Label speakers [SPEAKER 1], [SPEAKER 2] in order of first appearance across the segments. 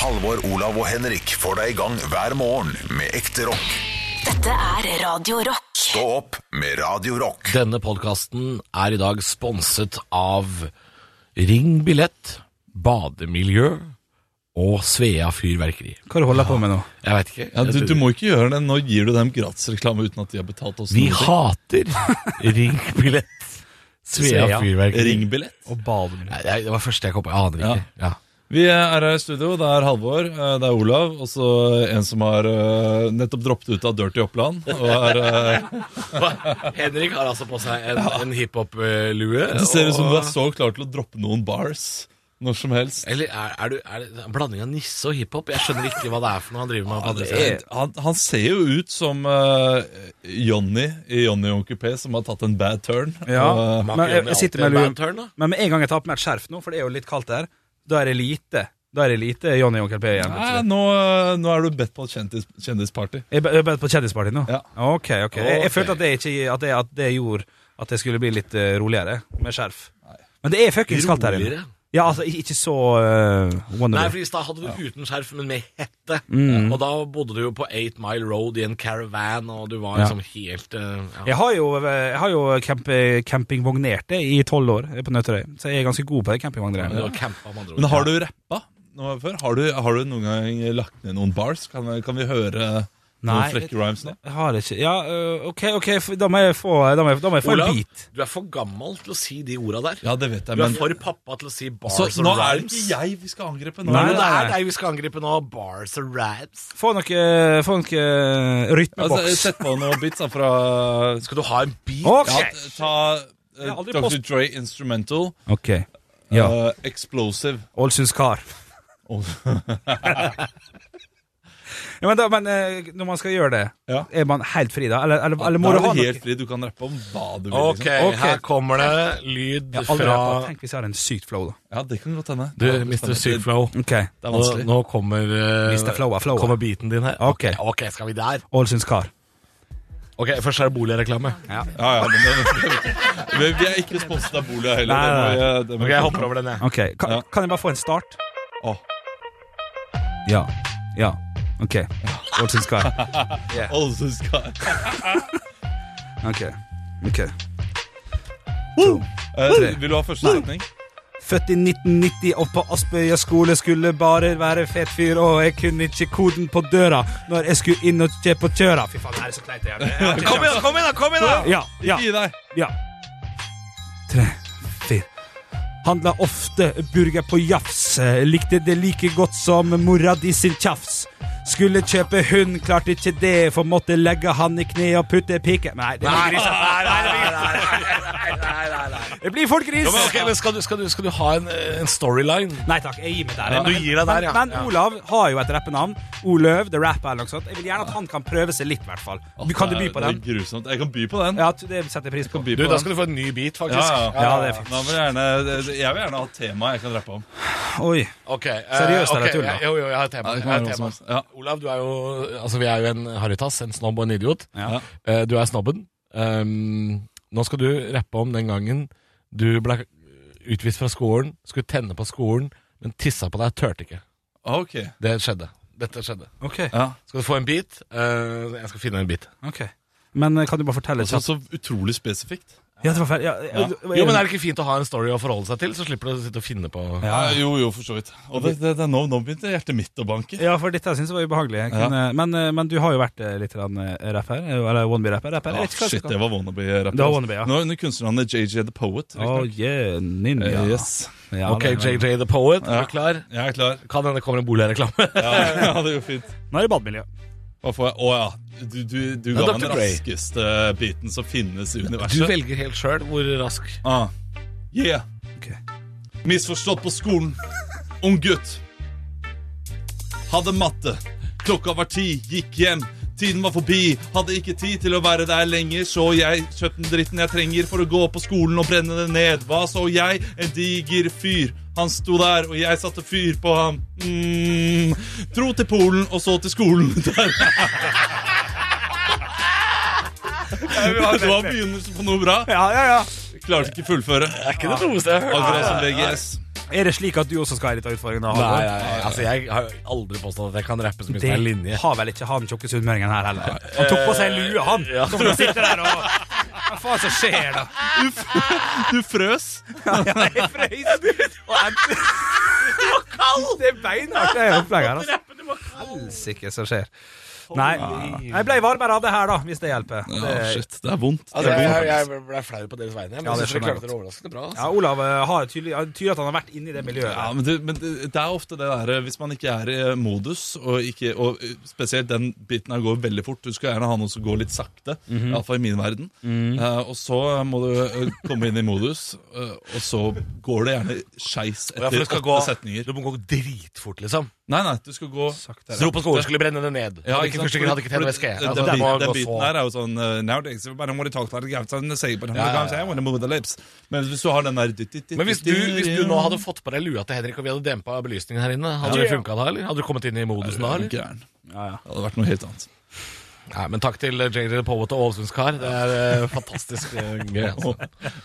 [SPEAKER 1] Halvor, Olav og Henrik får deg i gang hver morgen med ekte rock.
[SPEAKER 2] Dette er Radio Rock.
[SPEAKER 1] Stå opp med Radio Rock.
[SPEAKER 3] Denne podkasten er i dag sponset av Ring Billett, Bademiljø og Svea Fyrverkeri.
[SPEAKER 4] Hva er det du holder på med nå?
[SPEAKER 3] Jeg veit ikke.
[SPEAKER 5] Ja,
[SPEAKER 3] jeg
[SPEAKER 5] du,
[SPEAKER 3] tror-
[SPEAKER 5] du må ikke gjøre det. Nå gir du dem gratisreklame uten at de har betalt oss
[SPEAKER 3] Vi
[SPEAKER 5] noe.
[SPEAKER 3] hater Ring Billett, Svea,
[SPEAKER 4] Svea.
[SPEAKER 3] Fyrverkeri.
[SPEAKER 5] Ringbillett.
[SPEAKER 4] Og bademiljø.
[SPEAKER 3] Nei, det var det første jeg kom på. Jeg aner ikke. Ja.
[SPEAKER 5] Vi er her i studio. Det er Halvor, eh, det er Olav, og så en som har eh, nettopp droppet ut av Dirty Oppland. Og er, eh,
[SPEAKER 3] Henrik har altså på seg en, en hiphop-lue.
[SPEAKER 5] det ser ut som du
[SPEAKER 3] og-
[SPEAKER 5] er så klar til å droppe noen bars når som helst.
[SPEAKER 3] Eller er, er, du, er det en blanding av nisse og hiphop? Jeg skjønner ikke hva det er for noe han driver med. på
[SPEAKER 5] Ja, det
[SPEAKER 3] den
[SPEAKER 5] er,
[SPEAKER 3] siden.
[SPEAKER 5] Eh, han, han ser jo ut som eh, Johnny i Johnny og Onkel P, som har tatt en bad turn.
[SPEAKER 4] Ja,
[SPEAKER 5] Og, eh,
[SPEAKER 3] Man
[SPEAKER 4] men
[SPEAKER 3] gjør
[SPEAKER 4] jeg,
[SPEAKER 3] med
[SPEAKER 4] jeg sitter
[SPEAKER 3] alltid
[SPEAKER 4] med
[SPEAKER 3] en bad turn,
[SPEAKER 4] luen.
[SPEAKER 3] da.
[SPEAKER 4] Men med en gang jeg tar på meg et skjerf nå, for det er jo litt kaldt her, da er det lite. Da er det lite Johnny og Onkel P igjen.
[SPEAKER 5] Nei,
[SPEAKER 4] plutselig.
[SPEAKER 5] nå, eh, nå er du bedt på et kjendis, kjendisparty.
[SPEAKER 4] Jeg er bare på kjendisparty nå?
[SPEAKER 5] Ja.
[SPEAKER 4] Ok, ok. Jeg, jeg
[SPEAKER 5] Ok.
[SPEAKER 4] følte at det, ikke, at, det, at det gjorde at jeg skulle bli litt eh, roligere med skjerf. Men det er fuckings kaldt her inne.
[SPEAKER 3] Roligere?
[SPEAKER 4] Ja, altså, i- ikke så uh,
[SPEAKER 3] Nei,
[SPEAKER 4] wonderful.
[SPEAKER 3] for i stad hadde du uten skjerf, men med hette. Og da bodde du jo på Eight Mile Road i en caravan, og du var
[SPEAKER 4] Ja.
[SPEAKER 3] liksom helt eh, ja.
[SPEAKER 4] Jeg har jo, jeg har jo camp, campingvognert det i tolv år jeg er på Nøtterøy, så jeg er ganske god på det
[SPEAKER 3] Men du
[SPEAKER 4] campingvogngreiene.
[SPEAKER 3] var campa, med andre ord.
[SPEAKER 5] Men har du rappa noe før? Har du, har du noen gang lagt ned noen bars? Kan, vi- kan vi høre
[SPEAKER 4] Nei,
[SPEAKER 5] noen frekke rhymes nå?
[SPEAKER 4] Jeg har ikke Ja, øh, OK, ok, f- da må jeg få, da må jeg, da må jeg få
[SPEAKER 3] Olav,
[SPEAKER 4] en bit.
[SPEAKER 3] du er for gammel til å si de orda der.
[SPEAKER 5] Ja, det vet jeg,
[SPEAKER 3] du er
[SPEAKER 5] men
[SPEAKER 3] for pappa til å si bars
[SPEAKER 5] så, Nå
[SPEAKER 3] and
[SPEAKER 5] er det
[SPEAKER 3] rhymes.
[SPEAKER 5] ikke jeg vi skal angripe. Nå
[SPEAKER 3] Nei,
[SPEAKER 4] Nei,
[SPEAKER 3] men
[SPEAKER 5] er det
[SPEAKER 3] det
[SPEAKER 4] nei,
[SPEAKER 3] er
[SPEAKER 4] nei.
[SPEAKER 3] deg vi skal angripe nå. Bars and rhymes.
[SPEAKER 4] Få noe, få eh, noe rytmeboks.
[SPEAKER 5] altså, Sett på noen beats da, fra
[SPEAKER 3] Skal du ha en beat?
[SPEAKER 4] Ok.
[SPEAKER 5] ja, Ta eh,
[SPEAKER 4] Jeg har aldri
[SPEAKER 5] Dr.
[SPEAKER 4] post-
[SPEAKER 5] Dre Instrumental,
[SPEAKER 4] OK. Ja.
[SPEAKER 5] eh, Explosive
[SPEAKER 4] Ålesunds kar.
[SPEAKER 5] og,
[SPEAKER 4] Ja, men, da, men eh, når man skal gjøre det,
[SPEAKER 5] Ja.
[SPEAKER 4] er man helt fri da? Eller, eller, eller
[SPEAKER 5] Da
[SPEAKER 4] må du
[SPEAKER 5] er
[SPEAKER 4] ha
[SPEAKER 5] du
[SPEAKER 4] noe?
[SPEAKER 5] helt fri. Du kan rappe om hva du vil.
[SPEAKER 3] Ok,
[SPEAKER 5] Liksom.
[SPEAKER 3] her kommer det lyd
[SPEAKER 4] Jeg har aldri
[SPEAKER 3] fra
[SPEAKER 4] vært på- Tenk hvis jeg har en sykt flow, da.
[SPEAKER 5] Ja, det kan godt hende.
[SPEAKER 3] Du,
[SPEAKER 5] Ja, det
[SPEAKER 3] Mr.
[SPEAKER 5] stemmer.
[SPEAKER 3] Sykflow.
[SPEAKER 4] OK.
[SPEAKER 5] Det er
[SPEAKER 3] Nå,
[SPEAKER 5] vanskelig.
[SPEAKER 3] nå kommer, eh,
[SPEAKER 4] Mr. Flow er flow.
[SPEAKER 3] kommer beaten din her.
[SPEAKER 4] Ok.
[SPEAKER 3] ok, skal vi der?
[SPEAKER 4] Ålesunds kar.
[SPEAKER 3] Ok, Først er det boligreklame.
[SPEAKER 5] Ja, ja, men det, vi, vi er ikke sponset av Bolia heller.
[SPEAKER 4] Nei,
[SPEAKER 5] Det må jeg- det må
[SPEAKER 3] Ok,
[SPEAKER 5] jeg-
[SPEAKER 3] Jeg hopper over den, jeg.
[SPEAKER 4] OK. Kan,
[SPEAKER 5] Ja.
[SPEAKER 4] kan jeg bare få en start?
[SPEAKER 5] Åh.
[SPEAKER 4] Ja. Ja. OK. Ålesunds kar.
[SPEAKER 5] Ålesunds kar.
[SPEAKER 4] OK. OK.
[SPEAKER 5] Eh, Vil du ha første setning?
[SPEAKER 4] Født i 1990 og på Aspøya skole skulle bare være fet fyr, og jeg kunne ikke koden på døra når jeg skulle inn og kjøpe på kjøra. Fy faen, det her er så kleint. jeg er. Jeg har ikke
[SPEAKER 3] Kom igjen, da, kom igjen, da! kom igjen da
[SPEAKER 4] sjans. Ja, ja,
[SPEAKER 5] Gi deg.
[SPEAKER 4] ja. Tre, fire. Handla ofte burger på jafs. Likte det like godt som mora di sin tjafs. Skulle kjøpe hund, klarte ikke det, for måtte legge han i kne og putte pike Nei, det blir gris. Det blir fort gris.
[SPEAKER 3] Ja, men, ok, men skal, du, skal, du, skal du ha en, en storyline?
[SPEAKER 4] Nei takk, jeg gir meg der.
[SPEAKER 3] Ja, du gir deg der,
[SPEAKER 4] men,
[SPEAKER 3] ja.
[SPEAKER 4] men
[SPEAKER 3] Ja.
[SPEAKER 4] Olav har jo et rappenavn. Oløv, The Rapper eller noe sånt. Jeg vil gjerne at han kan prøve seg litt, i hvert fall. Du- Kan du by på den?
[SPEAKER 5] Det er grusomt. Jeg kan by på den.
[SPEAKER 4] Ja, det setter jeg pris på.
[SPEAKER 5] By
[SPEAKER 3] Du,
[SPEAKER 5] på
[SPEAKER 3] Da
[SPEAKER 5] den.
[SPEAKER 3] skal du få en ny beat, faktisk.
[SPEAKER 5] ja, ja.
[SPEAKER 4] Ja, det er fint.
[SPEAKER 5] Nå vil jeg, gjerne, jeg vil gjerne ha et tema jeg kan rappe om.
[SPEAKER 4] Oi.
[SPEAKER 3] Ok, eh,
[SPEAKER 4] Seriøst, eller
[SPEAKER 3] ok,
[SPEAKER 4] tull, da?
[SPEAKER 3] jeg- Jo, jo, jeg har et tema.
[SPEAKER 5] Ja, det
[SPEAKER 3] Jeg
[SPEAKER 5] kan
[SPEAKER 3] har et
[SPEAKER 5] være noe
[SPEAKER 3] tema.
[SPEAKER 5] som helst. Ja.
[SPEAKER 3] Olav, du er jo Altså, vi er jo en harrytass, en snobb og en idiot.
[SPEAKER 4] Ja.
[SPEAKER 3] Eh, Du er snobben. Um, nå skal du rappe om den gangen du ble utvist fra skolen, skulle tenne på skolen, men tissa på deg, turte ikke.
[SPEAKER 5] Ah, Ok.
[SPEAKER 3] Det skjedde. Dette skjedde.
[SPEAKER 4] Ok.
[SPEAKER 5] Ja.
[SPEAKER 3] Skal du få en beat? Eh, jeg skal finne en beat.
[SPEAKER 4] ok Men eh, kan du bare fortelle
[SPEAKER 5] Altså,
[SPEAKER 4] kjapt?
[SPEAKER 5] så utrolig spesifikt.
[SPEAKER 4] Ja, det var ferdig. Ja,
[SPEAKER 5] Ja.
[SPEAKER 3] Jo, men er det ikke fint å ha en story å forholde seg til? Så slipper du å sitte og finne på
[SPEAKER 4] Ja.
[SPEAKER 5] Eh, Jo, jo, for så vidt. Og det, det, det, nå, nå begynte hjertet mitt å banke.
[SPEAKER 4] ja, for dette syns jeg var ubehagelig. Jeg kunne, men, eh, men du har jo vært eh, litt grann, eh, rapper. eh, Eller wannabe-rapper. Rapper.
[SPEAKER 5] Ah,
[SPEAKER 4] Jeg vet ikke hva
[SPEAKER 5] shit,
[SPEAKER 4] du
[SPEAKER 5] det var wannabe-rapper.
[SPEAKER 4] Det var wannabe, ja.
[SPEAKER 5] Nå er under kunstnernavnet JJ The Poet.
[SPEAKER 4] skal Oh,
[SPEAKER 5] riktignok.
[SPEAKER 4] yeah, ninja.
[SPEAKER 5] Eh, yes.
[SPEAKER 4] Ja,
[SPEAKER 3] Ok,
[SPEAKER 4] det var-
[SPEAKER 3] JJ the Poet, er
[SPEAKER 5] Ja.
[SPEAKER 3] du klar?
[SPEAKER 5] Jeg er klar.
[SPEAKER 3] Kan hende kommer en boligreklame.
[SPEAKER 5] Ja, ja det går fint.
[SPEAKER 4] Nå er det bademiljø.
[SPEAKER 5] Hva får jeg? Å ja. Du, du, du
[SPEAKER 3] Ja,
[SPEAKER 5] ga meg
[SPEAKER 3] Dr.
[SPEAKER 5] den
[SPEAKER 3] Dre.
[SPEAKER 5] raskeste biten som finnes i
[SPEAKER 3] Du
[SPEAKER 5] universet.
[SPEAKER 3] velger helt sjøl hvor rask.
[SPEAKER 5] Ah. Yeah.
[SPEAKER 4] Ok.
[SPEAKER 5] Misforstått på skolen. Ung gutt. Hadde matte. Klokka var ti, gikk hjem. Tiden var forbi, hadde ikke tid til å være der lenger, så jeg kjøpte den dritten jeg trenger for å gå på skolen og brenne den ned. Hva så jeg? En diger fyr. Han sto der, og jeg satte fyr på ham. Mm. Dro til Polen, og så til skolen. Der. Det var begynnelsen på noe bra.
[SPEAKER 4] Ja, ja, ja.
[SPEAKER 5] Klarte ikke fullføre.
[SPEAKER 3] Er ikke det dummeste jeg har
[SPEAKER 5] Akkurat som VGS.
[SPEAKER 4] Er det slik at du også skal ha litt av utfordringene?
[SPEAKER 3] Nei,
[SPEAKER 4] Halvor?
[SPEAKER 3] nei, nei, altså jeg har jo aldri påstått at jeg kan rappe så mye som en
[SPEAKER 4] Det
[SPEAKER 3] linje.
[SPEAKER 4] har vel ikke han tjukke sunnmøringen her heller. Han tok på seg lue, han. Som kan sitte der og Hva faen som skjer, da?
[SPEAKER 5] Du, f- du frøs.
[SPEAKER 4] Jeg frøys. Og endte Det er beinhardt, det opplegget her. Altså. Helsike som skjer. Nei, jeg ble varmere av det her, da, hvis det hjelper.
[SPEAKER 5] Ja,
[SPEAKER 4] Det-
[SPEAKER 5] shit, det er vondt.
[SPEAKER 3] Altså, jeg, jeg, jeg ble flau på deres vegne, men
[SPEAKER 4] Ja, det
[SPEAKER 3] jeg synes dere
[SPEAKER 4] skjønner jeg
[SPEAKER 3] klarte det overraskende bra. Altså.
[SPEAKER 4] Ja, Olav eh, har tydelig, han tyder at han har vært inne i det miljøet.
[SPEAKER 5] Ja,
[SPEAKER 4] der.
[SPEAKER 5] men det, men det det er ofte det der Hvis man ikke er i eh, modus, og, ikke, og eh, spesielt den biten her går veldig fort Du skal gjerne ha noe som går litt sakte,
[SPEAKER 3] Mhm.
[SPEAKER 5] iallfall i min verden. Eh, og så må du eh, komme inn i modus, eh, og så går det gjerne skeis
[SPEAKER 3] Ja, for
[SPEAKER 5] etter
[SPEAKER 3] det skal
[SPEAKER 5] åtte
[SPEAKER 3] gå-
[SPEAKER 5] setninger.
[SPEAKER 3] Du må gå dritfort, liksom.
[SPEAKER 5] Nei, nei, du skal gå saktere.
[SPEAKER 3] Dro på skolen, skulle brenne det ned.
[SPEAKER 5] Ja,
[SPEAKER 3] hadde
[SPEAKER 5] ikke
[SPEAKER 3] ikke,
[SPEAKER 5] sant?
[SPEAKER 3] første grad, hadde ikke
[SPEAKER 5] Fordi-
[SPEAKER 3] TNVSK.
[SPEAKER 5] fordi
[SPEAKER 3] Altså,
[SPEAKER 5] den,
[SPEAKER 3] det må
[SPEAKER 5] biten- den
[SPEAKER 3] gå
[SPEAKER 5] biten
[SPEAKER 3] så-
[SPEAKER 5] der er jo sånn uh, Nowadays we bare want to talk like the gaps and say, but
[SPEAKER 3] Ja, ja,
[SPEAKER 5] I want to move the lips. Men hvis du har den der dytt, dytt, dytt,
[SPEAKER 3] Men hvis du,
[SPEAKER 5] dytt,
[SPEAKER 3] hvis du nå hadde fått på deg lua til Henrik, og vi hadde dempa belysningen her inne, hadde det funka da, eller? Hadde du kommet inn i modusen da,
[SPEAKER 5] Er du
[SPEAKER 3] eller?
[SPEAKER 5] gæren? Det hadde vært noe helt annet.
[SPEAKER 3] Nei, men takk til eh, JJ Powet og Ålesundskar. Det er eh, fantastisk eh, gøy. Altså.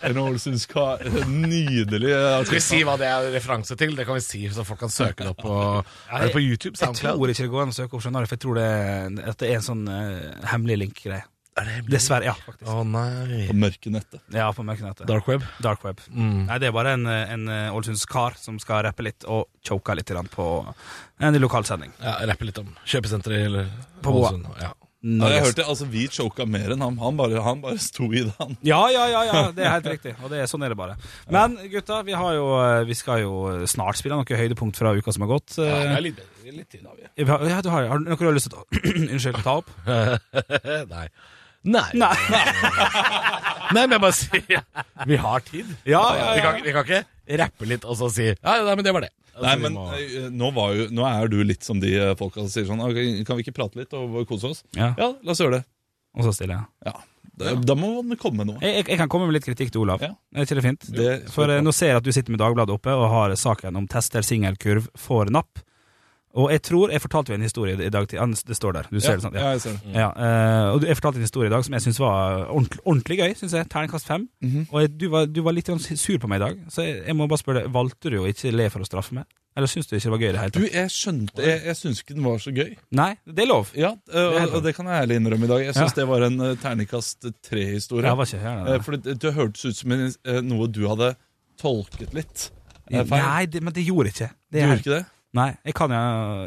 [SPEAKER 5] En Ålesundskar. Nydelig
[SPEAKER 3] Skal vi
[SPEAKER 5] artist.
[SPEAKER 3] si hva det er referanse til? Det kan vi si, så folk kan søke det opp på, er det på YouTube.
[SPEAKER 4] Jeg tror
[SPEAKER 3] SoundCloud.
[SPEAKER 4] ikke det går an å søke opp, skjønner du, for jeg tror det, at det er en sånn eh, hemmelig link-greie.
[SPEAKER 3] Er det hemmelig?
[SPEAKER 4] Dessverre. Ja, faktisk.
[SPEAKER 3] Å nei. Mm.
[SPEAKER 5] På mørke nettet.
[SPEAKER 4] Ja, på mørkenettet.
[SPEAKER 3] Dark web.
[SPEAKER 4] Dark web. Nei, det er bare en, eh, en Ålesundskar som skal rappe litt og choke litt grann på eh, en lokalsending.
[SPEAKER 3] Ja, Rappe litt om kjøpesenteret eller
[SPEAKER 4] På Boa.
[SPEAKER 3] Ålesund, Ja.
[SPEAKER 5] Ja, jeg hørte, altså Vi choka mer enn ham. Han bare, han bare sto i det, han.
[SPEAKER 4] Ja, ja, ja, ja, det er helt riktig. Og det er, sånn er det bare. Men gutta, vi, har jo, eh, vi skal jo snart spille noe høydepunkt fra uka som har gått.
[SPEAKER 3] Ja, det
[SPEAKER 4] Eh,
[SPEAKER 3] er litt, det er litt tid av, ja.
[SPEAKER 4] vi har, ja, du har, har du noe du har lyst til å ta- Unnskyld, ta opp?
[SPEAKER 3] Nei. Nei. Nei. men jeg bare sier Vi har tid.
[SPEAKER 4] Ja, ja,
[SPEAKER 3] Vi,
[SPEAKER 4] ja.
[SPEAKER 3] kan, vi kan ikke rappe litt og så si Ja, nei, men det var det. Altså,
[SPEAKER 5] Nei,
[SPEAKER 3] vi
[SPEAKER 5] men
[SPEAKER 3] må-
[SPEAKER 5] eh, nå, var jo, nå er jo du litt som de eh, folka som sier sånn «Ok, Kan vi ikke prate litt og kose oss?
[SPEAKER 4] Ja.
[SPEAKER 5] ja la oss gjøre det.
[SPEAKER 4] Og så stiller jeg.
[SPEAKER 5] Ja, Da, da må man komme med noe.
[SPEAKER 4] Jeg, jeg. Jeg kan komme med litt kritikk til Olav.
[SPEAKER 5] Ja.
[SPEAKER 4] Er ikke det fint?
[SPEAKER 5] Det-
[SPEAKER 4] For eh, nå ser jeg at du sitter med Dagbladet oppe og har saken om tester singelkurv for napp. Og jeg tror Jeg fortalte jo en historie i dag til Han- Det står der. Du ser det
[SPEAKER 3] sånn,
[SPEAKER 4] sant?
[SPEAKER 5] Ja, jeg ser det.
[SPEAKER 4] Ja, eh, og du- Jeg fortalte en historie i dag som jeg syntes var ordentlig, ordentlig gøy. Synes jeg, Terningkast fem.
[SPEAKER 5] Mhm.
[SPEAKER 4] Og jeg, du, var, du var litt grann sur på meg i dag, så jeg, jeg må bare spørre deg Valgte du å ikke le for å straffe meg? Eller syns du ikke det var gøy i det hele
[SPEAKER 5] Du,
[SPEAKER 4] tatt?
[SPEAKER 5] jeg skjønte Jeg, jeg syns ikke den var så gøy.
[SPEAKER 4] Nei, det er lov.
[SPEAKER 5] Ja, eh,
[SPEAKER 4] helt
[SPEAKER 5] og,
[SPEAKER 4] bra.
[SPEAKER 5] og det kan jeg ærlig innrømme i dag. Jeg syns
[SPEAKER 4] Ja.
[SPEAKER 5] det var en eh, terningkast tre-historie.
[SPEAKER 4] Jeg var ikke her,
[SPEAKER 5] Eh, For det, det hørtes ut som en, eh, noe du hadde tolket litt. eh, Feil.
[SPEAKER 4] Nei, det, men det gjorde jeg ikke.
[SPEAKER 5] du
[SPEAKER 4] Det er,
[SPEAKER 5] gjorde ikke det?
[SPEAKER 4] Nei, jeg kan jo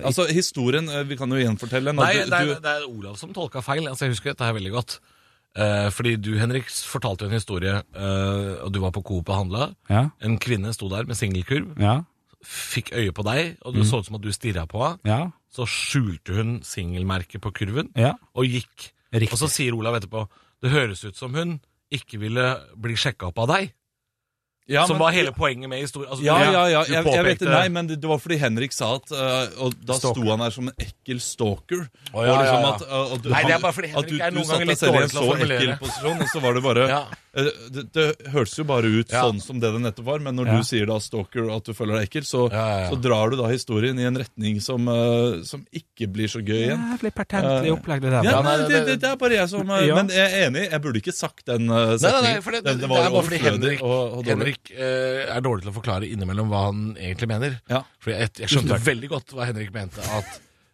[SPEAKER 5] Altså, historien eh, Vi kan jo gjenfortelle den. da.
[SPEAKER 3] Nei,
[SPEAKER 5] Du-
[SPEAKER 3] det er,
[SPEAKER 5] du-
[SPEAKER 3] det er Olav som tolka feil. Altså, jeg husker dette her veldig godt. Eh, fordi du, Henrik, fortalte jo en historie, eh, og du var på Coop og handla.
[SPEAKER 4] Ja,
[SPEAKER 3] En kvinne sto der med singelkurv,
[SPEAKER 4] ja,
[SPEAKER 3] fikk øye på deg, og
[SPEAKER 5] Mm.
[SPEAKER 3] det så ut som at du stirra på henne.
[SPEAKER 4] ja.
[SPEAKER 3] Så skjulte hun singelmerket på kurven
[SPEAKER 4] ja.
[SPEAKER 3] og gikk.
[SPEAKER 4] Riktig.
[SPEAKER 3] Og så sier Olav etterpå det høres ut som hun ikke ville bli sjekka opp av deg.
[SPEAKER 5] ja,
[SPEAKER 3] som
[SPEAKER 5] men-
[SPEAKER 3] var hele poenget med historien. Altså,
[SPEAKER 5] ja,
[SPEAKER 3] du-
[SPEAKER 5] ja, ja,
[SPEAKER 3] du
[SPEAKER 5] jeg, jeg vet det,
[SPEAKER 3] påpekte-
[SPEAKER 5] nei, men det, det var fordi Henrik sa at eh, Og da
[SPEAKER 4] Stalker.
[SPEAKER 5] sto han der som en ekkel stalker.
[SPEAKER 3] Å, ja,
[SPEAKER 5] og liksom
[SPEAKER 3] ja, ja.
[SPEAKER 5] At, eh, og du,
[SPEAKER 3] Nei, det er bare fordi
[SPEAKER 5] at du,
[SPEAKER 3] Henrik er
[SPEAKER 5] du
[SPEAKER 3] noen
[SPEAKER 5] satte
[SPEAKER 3] ganger
[SPEAKER 5] deg
[SPEAKER 3] litt
[SPEAKER 5] selv i en
[SPEAKER 3] dårlig til å
[SPEAKER 5] så ekkel
[SPEAKER 3] formulere.
[SPEAKER 5] posisjon, og så var det bare
[SPEAKER 3] Ja.
[SPEAKER 5] eh, det, det hørtes jo bare ut
[SPEAKER 3] Ja.
[SPEAKER 5] sånn som det det nettopp var, men når
[SPEAKER 4] Ja.
[SPEAKER 5] du sier da stalker og at du føler deg ekkel, så,
[SPEAKER 3] Ja, ja, ja.
[SPEAKER 5] så drar du da historien i en retning som, eh, som ikke blir så gøy igjen.
[SPEAKER 4] Jævlig pertentlig opplegg, det der.
[SPEAKER 5] Ja,
[SPEAKER 3] Ja,
[SPEAKER 5] nei,
[SPEAKER 3] nei,
[SPEAKER 5] det,
[SPEAKER 3] det-
[SPEAKER 5] det, det er bare jeg som eh,
[SPEAKER 4] Ja.
[SPEAKER 5] Men jeg er enig, jeg burde ikke sagt den eh,
[SPEAKER 3] Nei, nei,
[SPEAKER 5] setningen.
[SPEAKER 3] nei, for det, det,
[SPEAKER 5] Den- den
[SPEAKER 3] er bare fordi
[SPEAKER 5] overflødig
[SPEAKER 3] Henrik,
[SPEAKER 5] og- og dårlig.
[SPEAKER 3] Henrik eh, er dårlig til å forklare innimellom hva han egentlig mener.
[SPEAKER 5] Ja.
[SPEAKER 3] For jeg, jeg skjønte
[SPEAKER 5] Tusen takk.
[SPEAKER 3] veldig godt hva Henrik mente. At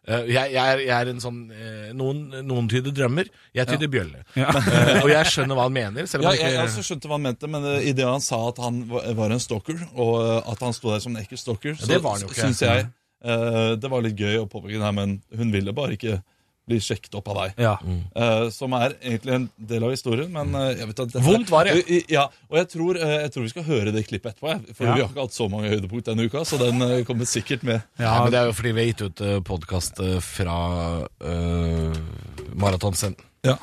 [SPEAKER 3] eh, jeg, jeg, er, jeg er en sånn eh, noen, noen tyder drømmer, jeg tyder bjølle. Eh, og jeg skjønner hva han mener, selv om
[SPEAKER 5] Ja,
[SPEAKER 3] han
[SPEAKER 5] jeg, jeg
[SPEAKER 3] ikke
[SPEAKER 5] også skjønte hva han mente, men eh, i det han sa at han var, var en stalker, og eh, at han sto der som en ekkel stalker, så
[SPEAKER 3] det var han jo ikke.
[SPEAKER 5] syns jeg eh, det var litt gøy å påpeke det her, men hun ville bare ikke bli sjekket opp av deg.
[SPEAKER 4] Ja.
[SPEAKER 5] Eh, som er egentlig en del av historien, men eh, jeg vet at dette-
[SPEAKER 3] Vondt var det.
[SPEAKER 5] I- i- Ja, og jeg tror, eh, jeg tror vi skal høre det klippet etterpå, jeg, for
[SPEAKER 4] Ja.
[SPEAKER 5] vi har ikke hatt så mange høydepunkt denne uka, så den eh, kommer sikkert med.
[SPEAKER 3] ja, men Det er jo fordi vi har gitt ut uh, podkast fra uh, Maratonsenden.
[SPEAKER 5] Ja.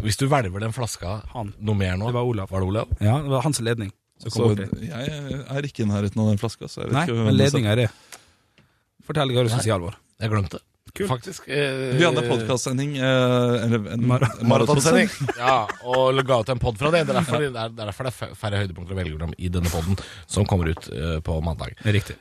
[SPEAKER 3] Hvis du hvelver den flaska
[SPEAKER 4] Han.
[SPEAKER 3] noe mer nå
[SPEAKER 4] Det var Olav.
[SPEAKER 3] Var det Olav?
[SPEAKER 4] ja, det var hans ledning. som kom
[SPEAKER 5] Så
[SPEAKER 4] borti.
[SPEAKER 5] jeg eh, er ikke i nærheten av den flaska. Så jeg vet
[SPEAKER 4] Nei,
[SPEAKER 5] ikke hvem
[SPEAKER 4] men
[SPEAKER 5] det er.
[SPEAKER 4] ledninga er det. Fortell hva du syns i alvor.
[SPEAKER 3] Jeg glemte det. Faktisk. eh,
[SPEAKER 5] Vi hadde en podkastsending eh, eller en-
[SPEAKER 4] Mar-
[SPEAKER 5] en
[SPEAKER 3] Maratonsending. Ja, og ga ut en pod fra det. Det er derfor det er, det er derfor det er fæ- færre høydepunkter å velge mellom i denne poden som kommer ut eh, på mandag.
[SPEAKER 4] Riktig.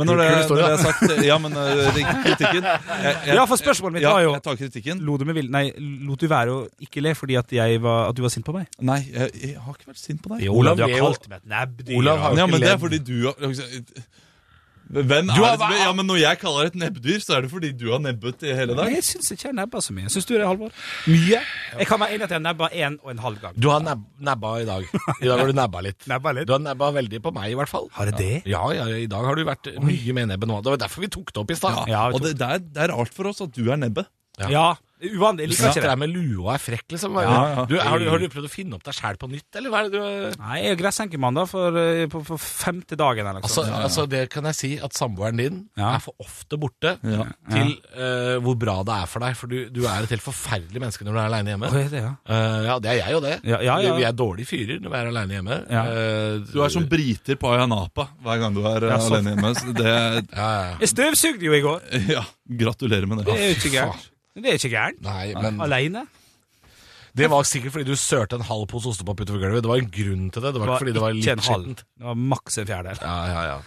[SPEAKER 5] Men når det,
[SPEAKER 3] Kul historie,
[SPEAKER 5] når det er sagt Ja, men eh, kritikken jeg, jeg,
[SPEAKER 4] Ja, for spørsmålet mitt
[SPEAKER 5] ja,
[SPEAKER 4] var jo
[SPEAKER 5] Jeg tar kritikken.
[SPEAKER 4] Lo du, med vil nei, lot du være å ikke le fordi at, jeg var, at du var sint på meg?
[SPEAKER 5] Nei, jeg, jeg har ikke vært sint på deg.
[SPEAKER 3] Jo, Olav, du er jo-
[SPEAKER 4] meg et nebb. du.
[SPEAKER 3] Olav har-
[SPEAKER 5] Ja,
[SPEAKER 3] ikke
[SPEAKER 5] men det er
[SPEAKER 3] ledd.
[SPEAKER 5] fordi du har Hvem er
[SPEAKER 3] Du har
[SPEAKER 5] det som-
[SPEAKER 3] vært-
[SPEAKER 5] Ja, men Når jeg kaller deg et nebbdyr, så er det fordi du har nebbet i hele
[SPEAKER 4] Nei,
[SPEAKER 5] dag.
[SPEAKER 4] jeg syns ikke jeg nebber så mye. Syns du det, Halvor? Mye? Jeg kan være enig i at jeg nebba én og en halv gang.
[SPEAKER 3] Du har neb nebba i dag. I dag har du nebba litt.
[SPEAKER 4] Nebba litt.
[SPEAKER 3] Du har nebba veldig på meg, i hvert fall.
[SPEAKER 4] Har jeg det?
[SPEAKER 3] Ja, ja, ja, i dag har du vært mye med nebbet nå. Det var derfor vi tok det opp i stad.
[SPEAKER 4] Ja,
[SPEAKER 5] Og det, det, er, det er rart for oss at du er nebbet.
[SPEAKER 3] Ja.
[SPEAKER 4] ja uvanlig. Jeg
[SPEAKER 3] Du
[SPEAKER 4] liker
[SPEAKER 3] sitter
[SPEAKER 4] ikke det.
[SPEAKER 3] der med lua og er frekk, liksom.
[SPEAKER 5] Ja, ja.
[SPEAKER 3] Du, har, du, har du prøvd å finne opp deg sjæl på nytt, eller hva er det du eh?
[SPEAKER 4] Nei, jeg er gressenkemann da for, eh, på, for femte dagen eller noe
[SPEAKER 3] Altså,
[SPEAKER 4] sånt.
[SPEAKER 3] altså det kan jeg si, at samboeren din
[SPEAKER 4] Ja.
[SPEAKER 3] er for ofte borte
[SPEAKER 5] Ja.
[SPEAKER 3] til eh, hvor bra det er for deg. For du, du er et helt forferdelig menneske når du er aleine hjemme.
[SPEAKER 4] Hva er det, ja?
[SPEAKER 3] Eh, ja, det er jeg jo det.
[SPEAKER 4] Ja, ja, ja.
[SPEAKER 3] Vi er dårlige fyrer når vi er aleine hjemme.
[SPEAKER 4] Ja.
[SPEAKER 3] Eh,
[SPEAKER 5] Du er som briter på Ayanapa hver gang du er eh,
[SPEAKER 4] Ja, sånn.
[SPEAKER 5] alene hjemme. Så det,
[SPEAKER 3] ja, ja.
[SPEAKER 4] Jeg støvsugde jo i går.
[SPEAKER 5] ja, gratulerer med
[SPEAKER 4] Det
[SPEAKER 5] det.
[SPEAKER 4] er jo ikke gærent. Det er ikke gærent.
[SPEAKER 3] Nei, men
[SPEAKER 4] Aleine.
[SPEAKER 3] Det var sikkert fordi du sørte en halv pose ostepop utover gulvet. Det var en grunn til det. Det var ikke fordi det var
[SPEAKER 4] en
[SPEAKER 3] litt
[SPEAKER 4] halv.
[SPEAKER 3] skittent.
[SPEAKER 4] Det var maks en fjerdedel.
[SPEAKER 3] Ja, ja, ja.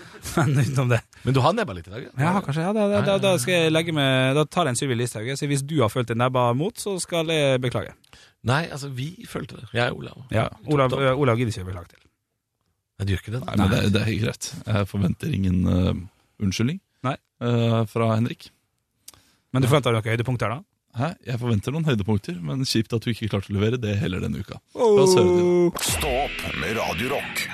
[SPEAKER 4] Men utenom det
[SPEAKER 3] Men du har nebba litt i dag?
[SPEAKER 4] Ja, kanskje. Ja, da, da, da, da skal jeg legge med Da tar jeg en Sylvi Listhaug. Så hvis du har følt deg nebba mot, så skal jeg beklage.
[SPEAKER 3] Nei, altså, vi følte det. Jeg og Olav.
[SPEAKER 4] Ja, Olav, ø, Olav gidder ikke å beklage til.
[SPEAKER 3] Nei, du gjør ikke det.
[SPEAKER 5] Nei, men det, det er helt greit. Jeg forventer ingen eh, unnskyldning
[SPEAKER 4] Nei.
[SPEAKER 5] eh, fra Henrik.
[SPEAKER 4] Men du forventer noen høydepunkter, da?
[SPEAKER 5] Hæ? Jeg forventer noen høydepunkter, men kjipt at du ikke klarte å levere det heller denne uka. La oss høre det.
[SPEAKER 1] Stå opp med Radio Rock.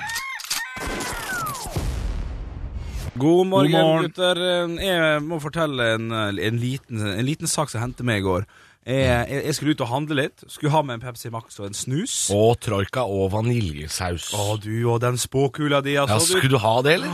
[SPEAKER 4] God morgen,
[SPEAKER 5] God morgen.
[SPEAKER 4] gutter. Jeg må fortelle en, en, liten, en liten sak som hendte meg i går. Jeg, jeg, jeg skulle ut og handle litt. Skulle ha med en Pepsi Max og en snus. Å,
[SPEAKER 3] Og troika og vaniljesaus.
[SPEAKER 4] du og den spåkula di,
[SPEAKER 3] Ja,
[SPEAKER 4] altså. du.
[SPEAKER 3] skulle du Ah. ha det, eller?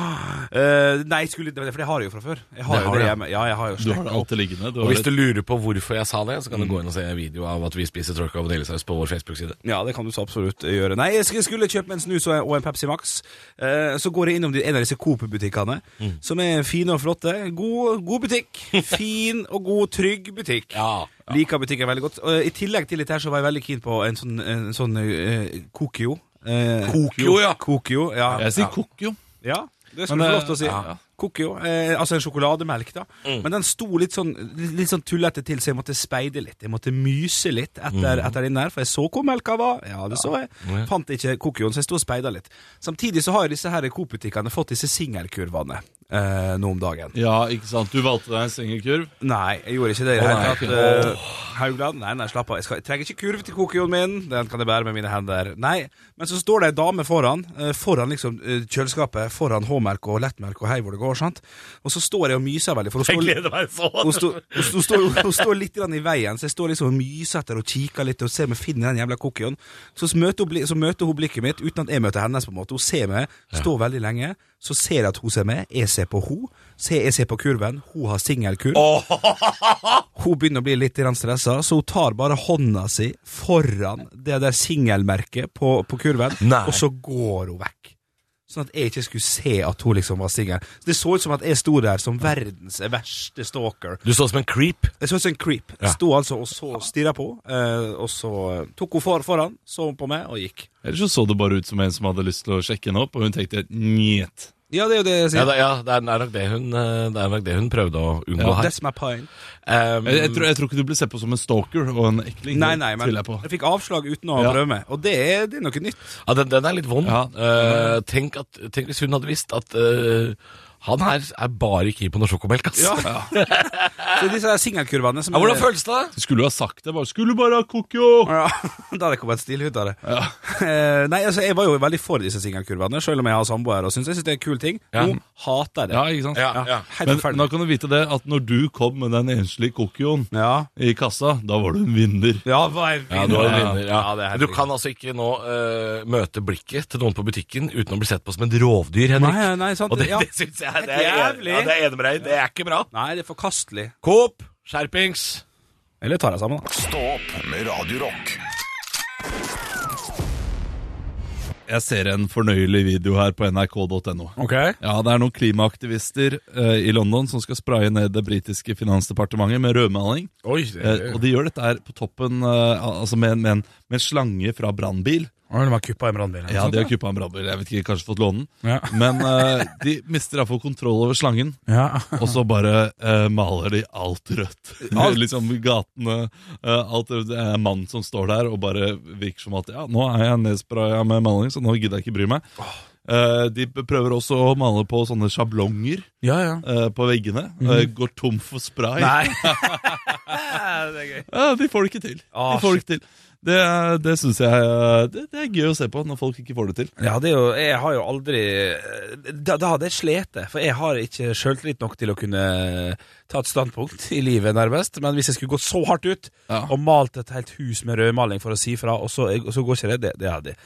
[SPEAKER 4] Eh, nei, jeg skulle, for det har jeg jo fra før. Jeg har
[SPEAKER 3] Det
[SPEAKER 4] jo
[SPEAKER 3] har
[SPEAKER 4] det
[SPEAKER 3] du, ja.
[SPEAKER 4] hjemme. Ja, jeg har jo
[SPEAKER 5] Du har det
[SPEAKER 4] stekka opp.
[SPEAKER 5] alltid liggende. Du
[SPEAKER 3] Og
[SPEAKER 5] har
[SPEAKER 3] hvis
[SPEAKER 5] et,
[SPEAKER 3] du lurer på hvorfor jeg sa det, så kan du gå inn og se en video av at vi spiser troika og vaniljesaus på vår Facebook-side.
[SPEAKER 4] Ja, det kan du så absolutt gjøre. Nei, jeg sk- skulle kjøpe meg en snus og en- og en Pepsi Max. Eh, så går jeg innom de- en av disse Coop-butikkene,
[SPEAKER 3] Mm.
[SPEAKER 4] som er fine og flotte. God, god butikk. Fin og god, trygg butikk.
[SPEAKER 3] Ja.
[SPEAKER 4] Liker butikken veldig godt. Og I tillegg til dette her så var jeg veldig keen på en sånn, en sånn eh, Kokio. Eh,
[SPEAKER 3] Kokio, ja.
[SPEAKER 4] Kokio, ja.
[SPEAKER 5] jeg
[SPEAKER 4] ja.
[SPEAKER 5] sier kokk, jo.
[SPEAKER 4] Ja, det skulle
[SPEAKER 5] Men,
[SPEAKER 4] du få
[SPEAKER 5] eh,
[SPEAKER 4] lov til å si.
[SPEAKER 5] ja.
[SPEAKER 4] Kokio. Eh, altså en sjokolademelk, da.
[SPEAKER 3] Mm.
[SPEAKER 4] Men den sto litt sånn, litt sånn tullete til, så jeg måtte speide litt. Jeg måtte myse litt etter, etter den der, for jeg så hvor melka var. Ja, det så jeg.
[SPEAKER 3] Mm. Ja.
[SPEAKER 4] Fant ikke kokioen, så jeg sto og speida litt. Samtidig så har jo disse her Coop-butikkene fått disse singelkurvene eh, nå om dagen.
[SPEAKER 5] Ja, ikke sant. Du valgte deg en sengekurv.
[SPEAKER 4] Nei, jeg gjorde ikke det i det
[SPEAKER 5] Å,
[SPEAKER 4] hele
[SPEAKER 5] nei,
[SPEAKER 4] tatt.
[SPEAKER 5] ok.
[SPEAKER 4] Eh, Haugland, nei, nei, slapp av. Jeg, skal, jeg trenger ikke kurv til kokioen min. Den kan jeg bære med mine hender. Nei, men så står det ei dame foran, eh, foran liksom eh, kjøleskapet, foran H-merk og lettmerk og hei hvor det går, sant. Og så står jeg og myser veldig, for hun står
[SPEAKER 3] meg
[SPEAKER 4] hun
[SPEAKER 3] sånn!
[SPEAKER 4] står, hun står- hun står, hun står litt grann i veien, så jeg står liksom og myser etter og kikker litt og ser om jeg finner den jævla cookien. Så s- møter, hun, bli- så møter hun blikket mitt uten at jeg møter hennes. på en måte Hun ser meg, står veldig lenge, så ser jeg at hun ser meg, jeg ser på hun ser, jeg ser på kurven, hun har singelkurv. Hun begynner å bli litt grann stressa, så hun tar bare hånda si foran det der singelmerket på, på kurven,
[SPEAKER 3] Nei.
[SPEAKER 4] og så går hun vekk. Sånn at jeg ikke skulle se at hun liksom var singel. Så Det så ut som at jeg sto der som verdens verste stalker.
[SPEAKER 3] Du så ut som en creep.
[SPEAKER 4] Jeg så ut som en creep.
[SPEAKER 3] Ja.
[SPEAKER 4] Sto altså og så stirra på, eh, og så tok hun for foran, så hun på meg og gikk.
[SPEAKER 5] Ellers så så det bare ut som en som hadde lyst til å sjekke henne opp, og hun tenkte njet.
[SPEAKER 4] Ja, det er jo det jeg
[SPEAKER 3] Ja,
[SPEAKER 4] sier.
[SPEAKER 3] det, ja, det er det er nok det hun, eh, det er nok det hun prøvde å unngå her.
[SPEAKER 4] That's my point.
[SPEAKER 3] Um,
[SPEAKER 5] Jeg, jeg, tror, jeg tror ikke du blir sett på som en stalker og en ekling.
[SPEAKER 4] Nei, nei, men
[SPEAKER 5] tviler jeg på.
[SPEAKER 4] jeg fikk avslag uten å
[SPEAKER 5] Ja.
[SPEAKER 4] prøve meg, og det er, det er noe nytt.
[SPEAKER 3] Ja, den, den er litt vond.
[SPEAKER 5] Ja.
[SPEAKER 3] Eh, tenk, at, tenk hvis hun hadde visst at eh, han her er bare keen på noe sjokomelk, ass.
[SPEAKER 4] Ja. så disse her singelkurvene som
[SPEAKER 3] Ja, hvordan
[SPEAKER 4] er-
[SPEAKER 3] føles det?
[SPEAKER 5] Du skulle jo ha sagt det. bare, Skulle bare ha kokjo!
[SPEAKER 4] Ja, da hadde jeg kommet stil ut av det. Eh, Nei, altså, jeg var jo veldig for disse singelkurvene, selv om jeg har samboer og syns jeg synes det er en kul ting.
[SPEAKER 3] Ja.
[SPEAKER 4] Hun hater det.
[SPEAKER 5] Ja, ikke sant?
[SPEAKER 3] Ja, ja.
[SPEAKER 4] Helt
[SPEAKER 5] Men
[SPEAKER 4] forferdelig.
[SPEAKER 5] da kan du vite det at når du kom med den enslige kokjoen
[SPEAKER 4] Ja.
[SPEAKER 5] i kassa, da var du en vinner.
[SPEAKER 4] Ja, hva er
[SPEAKER 3] Ja, du har en
[SPEAKER 5] Ja.
[SPEAKER 3] vinner. Ja.
[SPEAKER 4] Ja, det er helt
[SPEAKER 3] Men du kan altså ikke nå eh, møte blikket til noen på butikken uten å bli sett på som et rovdyr, Henrik.
[SPEAKER 4] Nei, nei, sant.
[SPEAKER 3] Og det,
[SPEAKER 4] ja.
[SPEAKER 3] det syns jeg det er,
[SPEAKER 4] Jævlig.
[SPEAKER 3] ja, det er enig med deg i. Det er ikke bra.
[SPEAKER 4] Nei, det er forkastelig.
[SPEAKER 3] Coop, skjerpings.
[SPEAKER 4] Eller tar jeg sammen, da.
[SPEAKER 1] Stå opp med Radio Rock.
[SPEAKER 5] Jeg ser en fornøyelig video her på nrk.no. Ja, Det er noen klimaaktivister eh, i London som skal spraye ned det britiske finansdepartementet med rødmaling.
[SPEAKER 3] Oi,
[SPEAKER 5] Eh, og de gjør dette her på toppen eh, al- altså med, en- med, en, med en slange fra brannbil.
[SPEAKER 4] Og de har kuppa en brannbil. eller
[SPEAKER 5] Ja,
[SPEAKER 4] sånt,
[SPEAKER 5] de har kuppa en brannbil. Jeg vet ikke, kanskje fått låne den.
[SPEAKER 4] Ja.
[SPEAKER 5] Men eh, de mister iallfall kontroll over slangen,
[SPEAKER 4] Ja.
[SPEAKER 5] og så bare eh, maler de alt rødt. liksom gatene, eh, alt rødt. Det er en mann som står der og bare virker som at ja, nå er jeg nedspraya med maling, så nå gidder jeg ikke bry meg. Eh, de prøver også å male på sånne sjablonger
[SPEAKER 4] ja, ja.
[SPEAKER 5] eh, på veggene. Eh, går tom for spray.
[SPEAKER 4] Nei.
[SPEAKER 5] Ja, de får det ikke til.
[SPEAKER 4] Ah,
[SPEAKER 5] de får det ikke til. Det, er- det syns jeg eh, det, det er gøy å se på når folk ikke får det til.
[SPEAKER 4] Ja, det er jo, jeg har jo aldri Da, da hadde jeg slitt, for jeg har ikke sjøltillit nok til å kunne ta et standpunkt i livet, nærmest. Men hvis jeg skulle gått så hardt ut
[SPEAKER 5] Ja.
[SPEAKER 4] og malt et helt hus med rødmaling for å si fra, og så, og så går ikke det, det, det hadde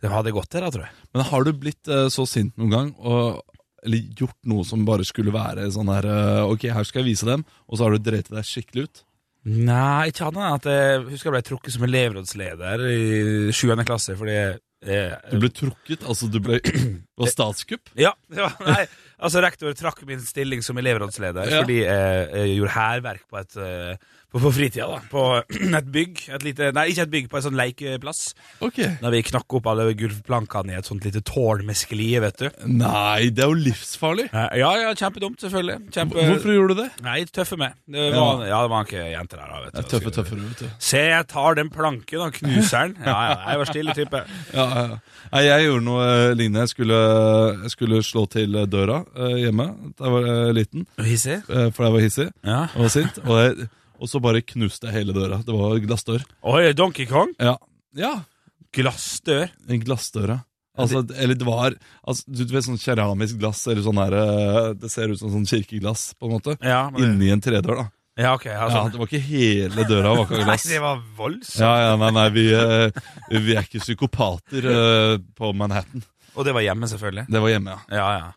[SPEAKER 4] det hadde gått til, da, tror jeg.
[SPEAKER 5] Men har du blitt eh, så sint noen gang, og, eller gjort noe som bare skulle være sånn her eh, Ok, her skal jeg vise dem, og så har du dreit deg skikkelig ut?
[SPEAKER 4] Nei, ikke annet enn at jeg husker jeg ble trukket som elevrådsleder i sjuende klasse fordi jeg,
[SPEAKER 5] Du ble trukket, altså du ble Det var statskupp?
[SPEAKER 4] Ja, ja nei, altså rektor trakk min stilling som elevrådsleder
[SPEAKER 5] Ja.
[SPEAKER 4] fordi jeg, jeg gjorde hærverk på et eh, på, på fritida, da. På et bygg. Et lite, nei, ikke et bygg, på en sånn lekeplass.
[SPEAKER 5] Ok.
[SPEAKER 4] Der vi knakk opp alle gulvplankene i et sånt lite tårn med sklie, vet du.
[SPEAKER 5] Nei, det er jo livsfarlig.
[SPEAKER 4] Eh, Ja, ja, kjempedumt, selvfølgelig. Kjempe...
[SPEAKER 5] Hvorfor gjorde du det?
[SPEAKER 4] Nei, tøffe med. Det var, ja, det var ikke jenter der, da, vet du.
[SPEAKER 5] Tøffe, tøffe, vet du.
[SPEAKER 4] Se, jeg tar den planken og knuser den. Ja, ja, jeg var stille type.
[SPEAKER 5] Ja, ja, ja. Nei, jeg gjorde noe eh, lignende. Jeg skulle, jeg skulle slå til eh, døra eh, hjemme da jeg var eh, liten,
[SPEAKER 4] Hissig?
[SPEAKER 5] eh, for jeg var hissig
[SPEAKER 4] Ja.
[SPEAKER 5] og sint. Og, jeg, og så bare knuste jeg hele døra. Det var glassdør.
[SPEAKER 4] Oi, Donkey Kong?
[SPEAKER 5] Ja, ja
[SPEAKER 4] Glassdør?
[SPEAKER 5] En glassdøra. Altså, eller det var altså, Du vet sånn keramisk glass, eller sånn her eh, Det ser ut som sånn kirkeglass, på en måte.
[SPEAKER 4] Ja, men,
[SPEAKER 5] Inni en tredør, da.
[SPEAKER 4] ja ok. Altså.
[SPEAKER 5] Ja, det var ikke hele døra var ikke
[SPEAKER 4] Nei,
[SPEAKER 5] av glass.
[SPEAKER 4] det var sånn. voldsomt.
[SPEAKER 5] Ja, ja, nei, nei, vi, eh, vi er ikke psykopater eh, på Manhattan.
[SPEAKER 4] Og det var hjemme, selvfølgelig.
[SPEAKER 5] Det var hjemme, ja.
[SPEAKER 4] Ja, ja.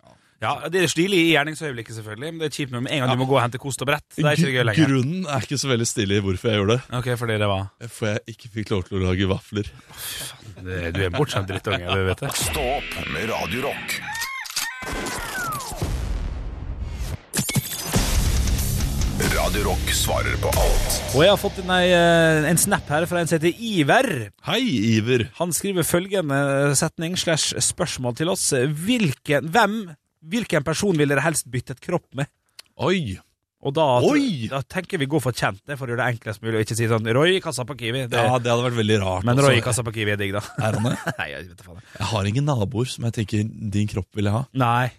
[SPEAKER 4] Ja, Det er stilig i gjerningsøyeblikket, selvfølgelig, men det er kjipt med en gang du må gå og hente kost og brett. Det er ikke det gøy lenger.
[SPEAKER 5] Grunnen er ikke så veldig stille i hvorfor jeg gjorde det.
[SPEAKER 4] Ok, fordi det var
[SPEAKER 5] For jeg ikke fikk lov til å lage vafler.
[SPEAKER 4] det, Du er en bortskjemt drittunge, du vet det.
[SPEAKER 1] Stå opp med Radio Rock. Radio Rock svarer på alt.
[SPEAKER 4] Og jeg har fått en, eh, en snap her fra en som heter Iver.
[SPEAKER 5] Hei, Iver.
[SPEAKER 4] Han skriver følgende eh, setning slash spørsmål til oss. Hvilken, hvem, hvilken person vil dere helst byttet kropp med?
[SPEAKER 5] Oi.
[SPEAKER 4] Og da,
[SPEAKER 5] Oi!
[SPEAKER 4] da tenker vi gå for kjente for å gjøre det enklest mulig, og ikke si sånn Roy i kassa på Kiwi. Det,
[SPEAKER 5] Ja, det hadde vært veldig rart.
[SPEAKER 4] men
[SPEAKER 5] også.
[SPEAKER 4] Roy i kassa på Kiwi er digg, da.
[SPEAKER 5] Er han det?
[SPEAKER 4] Nei, jeg vet da faen.
[SPEAKER 5] Jeg har ingen naboer som jeg tenker din kropp vil jeg ha.
[SPEAKER 4] Nei.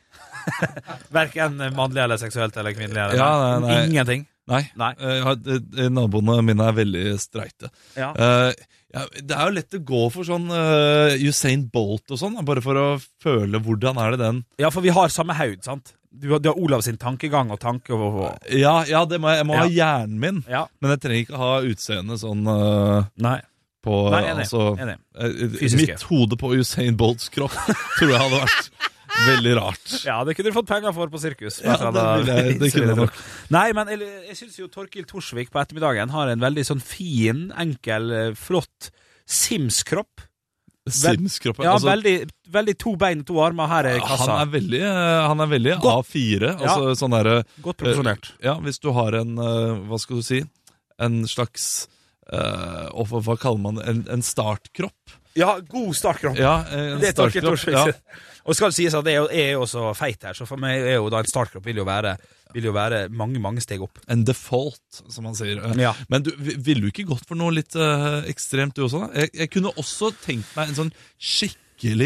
[SPEAKER 4] Verken mannlig eller seksuelt eller kvinnelig. Eller
[SPEAKER 5] Ja, nei, nei.
[SPEAKER 4] Ingenting.
[SPEAKER 5] Nei.
[SPEAKER 4] Nei.
[SPEAKER 5] Eh, jeg har- eh, naboene mine er veldig streite.
[SPEAKER 4] Ja.
[SPEAKER 5] Eh, ja, det er jo lett å gå for sånn eh, Usain Bolt og sånn, da, bare for å føle hvordan er det den
[SPEAKER 4] ja, for vi har samme haud, sant? Du, har- du har Olav sin tankegang og tanke og, og
[SPEAKER 5] Ja, ja det må jeg, jeg må ha hjernen min,
[SPEAKER 4] Ja.
[SPEAKER 5] men jeg trenger ikke ha utseendet sånn eh,
[SPEAKER 4] Nei.
[SPEAKER 5] på
[SPEAKER 4] Nei, enig.
[SPEAKER 5] altså,
[SPEAKER 4] enig.
[SPEAKER 5] eh,
[SPEAKER 4] Fysiske.
[SPEAKER 5] Mitt hode på Usain Bolts kropp tror jeg hadde vært veldig rart.
[SPEAKER 4] Ja, det kunne du fått penger for på sirkus.
[SPEAKER 5] Ja,
[SPEAKER 4] Bare
[SPEAKER 5] det
[SPEAKER 4] sånn,
[SPEAKER 5] ville jeg- det
[SPEAKER 4] så
[SPEAKER 5] kunne
[SPEAKER 4] ville
[SPEAKER 5] jeg nok.
[SPEAKER 4] tro. Nei, men eller, jeg syns jo Torkil Torsvik på ettermiddagen har en veldig sånn fin, enkel, eh, flott Sims-kropp.
[SPEAKER 5] Sims-kroppen.
[SPEAKER 4] Ja,
[SPEAKER 5] altså,
[SPEAKER 4] veldig, veldig to bein, to armer. Her er
[SPEAKER 5] han
[SPEAKER 4] kassa.
[SPEAKER 5] er veldig, eh, han er veldig A4. Altså sånn derre
[SPEAKER 4] Godt proporsjonert.
[SPEAKER 5] Ja, hvis du har en, eh, hva skal du si, en slags eh, og hva, hva kaller man det? En, en startkropp?
[SPEAKER 4] Ja, god startkropp.
[SPEAKER 5] Ja, en
[SPEAKER 4] Det er Torkild
[SPEAKER 5] startkropp,
[SPEAKER 4] Torsvik
[SPEAKER 5] ja.
[SPEAKER 4] sitt. Og skal det sies at jeg er jo- jeg er jo også feit her, så for meg er jo da en startkropp vil jo være, vil jo være mange, mange steg opp.
[SPEAKER 5] En default, som man sier. Eh,
[SPEAKER 4] Ja.
[SPEAKER 5] Men du, vi- ville du ikke gått for noe litt eh, ekstremt, du også? da? Jeg, jeg kunne også tenkt meg en sånn skikkelig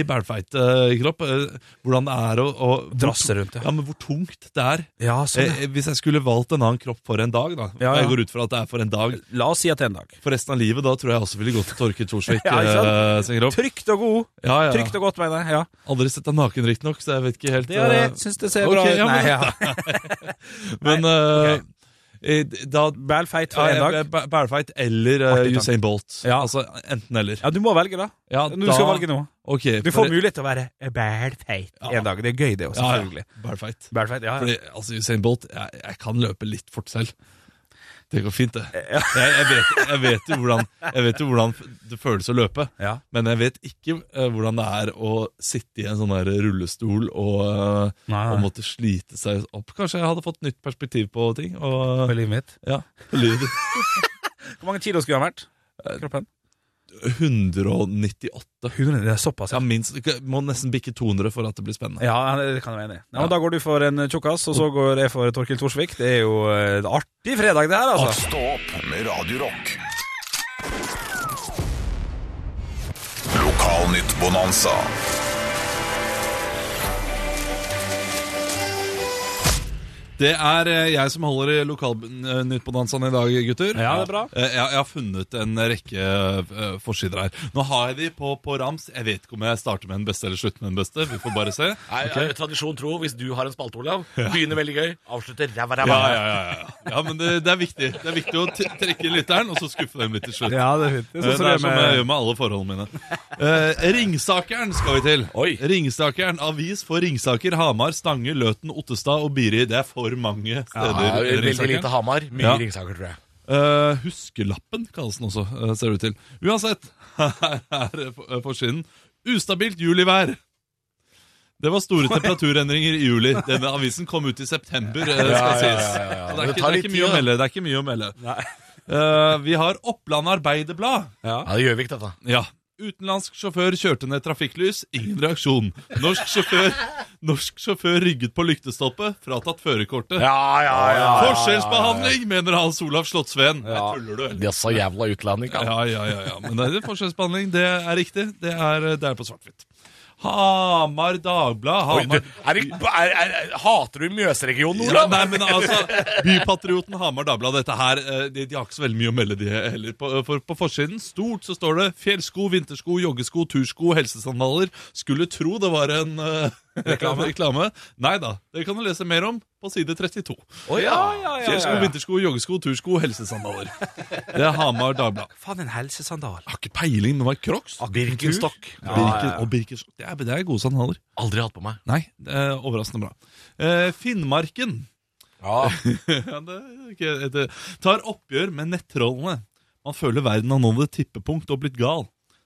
[SPEAKER 5] bælfeit-kropp. Eh, hvordan det er å, å hvor-
[SPEAKER 4] Drasse rundt, ja.
[SPEAKER 5] ja. men hvor tungt det er.
[SPEAKER 4] Ja, sånn.
[SPEAKER 5] Eh, eh, hvis jeg skulle valgt en annen kropp for en dag, da.
[SPEAKER 4] Ja, ja.
[SPEAKER 5] Jeg går ut fra at det er for en dag.
[SPEAKER 4] La oss si at det er en dag.
[SPEAKER 5] For resten av livet, da tror jeg også ville gått for Torkild Torsvik
[SPEAKER 4] Ja, ikke sant?
[SPEAKER 5] eh, sin kropp.
[SPEAKER 4] Trygt og god.
[SPEAKER 5] Ja, ja.
[SPEAKER 4] Trygt og godt, mener jeg. Ja.
[SPEAKER 5] Aldri sett deg naken, riktignok, så jeg vet ikke helt
[SPEAKER 4] Det er
[SPEAKER 5] eh,
[SPEAKER 4] det. Syns det ser
[SPEAKER 5] Ok,
[SPEAKER 4] bra ut.
[SPEAKER 5] ja, men-
[SPEAKER 4] Nei, ja.
[SPEAKER 5] Men eh, eh, da eh,
[SPEAKER 4] Bæl feit for
[SPEAKER 5] ja,
[SPEAKER 4] en
[SPEAKER 5] jeg-
[SPEAKER 4] dag.
[SPEAKER 5] Bæ- Bælfeit eller eh,
[SPEAKER 4] Artig tanke.
[SPEAKER 5] Usain Bolt.
[SPEAKER 4] Ja.
[SPEAKER 5] Altså enten eller.
[SPEAKER 4] Ja, du må velge, da.
[SPEAKER 5] Ja,
[SPEAKER 4] Du
[SPEAKER 5] da-
[SPEAKER 4] skal velge nå.
[SPEAKER 5] Ok,
[SPEAKER 4] Du
[SPEAKER 5] for-
[SPEAKER 4] får mulighet til å være bæl feit
[SPEAKER 5] Ja.
[SPEAKER 4] en dag. Det er gøy, det også,
[SPEAKER 5] Ja,
[SPEAKER 4] selvfølgelig.
[SPEAKER 5] ja. Bælfeit.
[SPEAKER 4] Bæl feit, ja. ja.
[SPEAKER 5] Fordi, altså, Usain Bolt jeg, jeg kan løpe litt fort selv. Det går fint, det. Jeg, jeg, vet, jeg, vet jo hvordan, jeg vet jo hvordan det føles å løpe.
[SPEAKER 4] Ja.
[SPEAKER 5] Men jeg vet ikke eh, hvordan det er å sitte i en sånn her rullestol og, eh,
[SPEAKER 4] Nei, nei.
[SPEAKER 5] og måtte slite seg opp. Kanskje jeg hadde fått nytt perspektiv på ting. Og,
[SPEAKER 4] På livet mitt.
[SPEAKER 5] Ja, lyd.
[SPEAKER 4] Eh, Hvor mange kilo skulle han vært? Kroppen?
[SPEAKER 5] 198.
[SPEAKER 4] 100, det er såpass,
[SPEAKER 5] Ja,
[SPEAKER 4] ja.
[SPEAKER 5] minst, ikke- Må nesten bikke 200 for at det blir spennende.
[SPEAKER 4] Ja, det kan jeg være enig i. Ja, Mm. men Da går du for en tjukkas, og så går jeg for Torkil Thorsvik. Det er jo eh, en artig fredag, det her, altså.
[SPEAKER 1] Stå opp med Radio Rock. Lokalnytt Bonanza.
[SPEAKER 5] Det er eh, jeg som holder i Lokalnytt på dansene i dag, gutter.
[SPEAKER 4] Ja, det er bra.
[SPEAKER 5] Eh, Jeg, jeg har funnet en rekke eh, forsider her. Nå har jeg de på, på rams. Jeg vet ikke om jeg starter med den beste eller slutter med den beste. Vi får bare se.
[SPEAKER 3] Nei, eh, Tradisjon tro, hvis du har en spalte, Olav, begynner veldig gøy, avslutter ræva, ræva.
[SPEAKER 5] Ja, ja, ja, ja. ja men det, det er viktig Det er viktig å t- trekke lytteren, og så skuffe dem litt til slutt. Eh,
[SPEAKER 4] Ja, det er fint. Det
[SPEAKER 5] Det
[SPEAKER 4] er
[SPEAKER 5] er,
[SPEAKER 4] sånn som det er
[SPEAKER 5] som jeg
[SPEAKER 4] med
[SPEAKER 5] gjør med alle forholdene mine. Eh, Ringsakeren skal vi til.
[SPEAKER 3] Oi.
[SPEAKER 5] Ringsakeren, Avis for Ringsaker, Hamar, Stange, Løten, Ottestad og Biri. Det er for mange steder.
[SPEAKER 3] Ja, veldig
[SPEAKER 5] Ringsakeren.
[SPEAKER 3] lite Hamar, mye
[SPEAKER 5] Ja.
[SPEAKER 3] Ringsaker, tror jeg.
[SPEAKER 5] Eh, huskelappen kalles den også, eh, ser det ut til. Uansett, her er for- eh, forsiden. Ustabilt julivær. Det var store temperaturendringer i juli. Denne avisen kom ut i september, eh, skal
[SPEAKER 3] ja,
[SPEAKER 5] sies.
[SPEAKER 3] ja, ja, ja.
[SPEAKER 5] Så Det er
[SPEAKER 3] Det tar
[SPEAKER 5] ikke, det er
[SPEAKER 3] litt
[SPEAKER 5] ikke mye å
[SPEAKER 3] tid,
[SPEAKER 5] melde. Det er ikke mye å melde.
[SPEAKER 4] Nei.
[SPEAKER 5] Eh, vi har Oppland Arbeiderblad.
[SPEAKER 3] Ja, det er Gjøvik, dette.
[SPEAKER 5] Ja. Utenlandsk sjåfør kjørte ned trafikklys. Ingen reaksjon. Norsk sjåfør, norsk sjåfør rygget på lyktestolpet. Fratatt førerkortet.
[SPEAKER 3] Ja, ja, ja.
[SPEAKER 5] Forskjellsbehandling, mener Hans Olav Slottsveen.
[SPEAKER 4] Ja.
[SPEAKER 5] Jeg tuller, du. eller?
[SPEAKER 3] De er så jævla utlendinger.
[SPEAKER 5] Ja, ja, ja, ja. Men det er forskjellsbehandling. Det er riktig. Det er, det er på svart-hvitt. Hamar Dagblad
[SPEAKER 3] Oi, du,
[SPEAKER 5] Hamar...
[SPEAKER 3] er det, er, er, er, hater du Mjøsregionen,
[SPEAKER 5] Ja,
[SPEAKER 3] Olav?
[SPEAKER 5] nei, men altså, Bypatrioten Hamar Dagblad, dette her eh, De, de har ikke så veldig mye å melde, de heller. På, for, på forsiden, stort, så står det fjellsko, vintersko, joggesko, tursko, helsesandaler. Skulle tro det var en eh, reklame. Nei da. Det kan du lese mer om på side 32.
[SPEAKER 3] Å, ja, ja, ja.
[SPEAKER 5] Fjellsko, vintersko, joggesko, tursko, helsesandaler. Det er Hamar Dagblad.
[SPEAKER 4] Faen, en helsesandal.
[SPEAKER 5] Jeg har ikke peiling, men det var Crocs.
[SPEAKER 3] Birkenstock.
[SPEAKER 5] Birken, og Birkenstock. Det er, det er gode sandaler.
[SPEAKER 3] Aldri hatt på meg.
[SPEAKER 5] Nei, det er overraskende bra. Eh, Finnmarken
[SPEAKER 3] Ja,
[SPEAKER 5] Ja, det er ikke- det- tar oppgjør med nettrollene. Man føler verden har nådd et tippepunkt og blitt gal.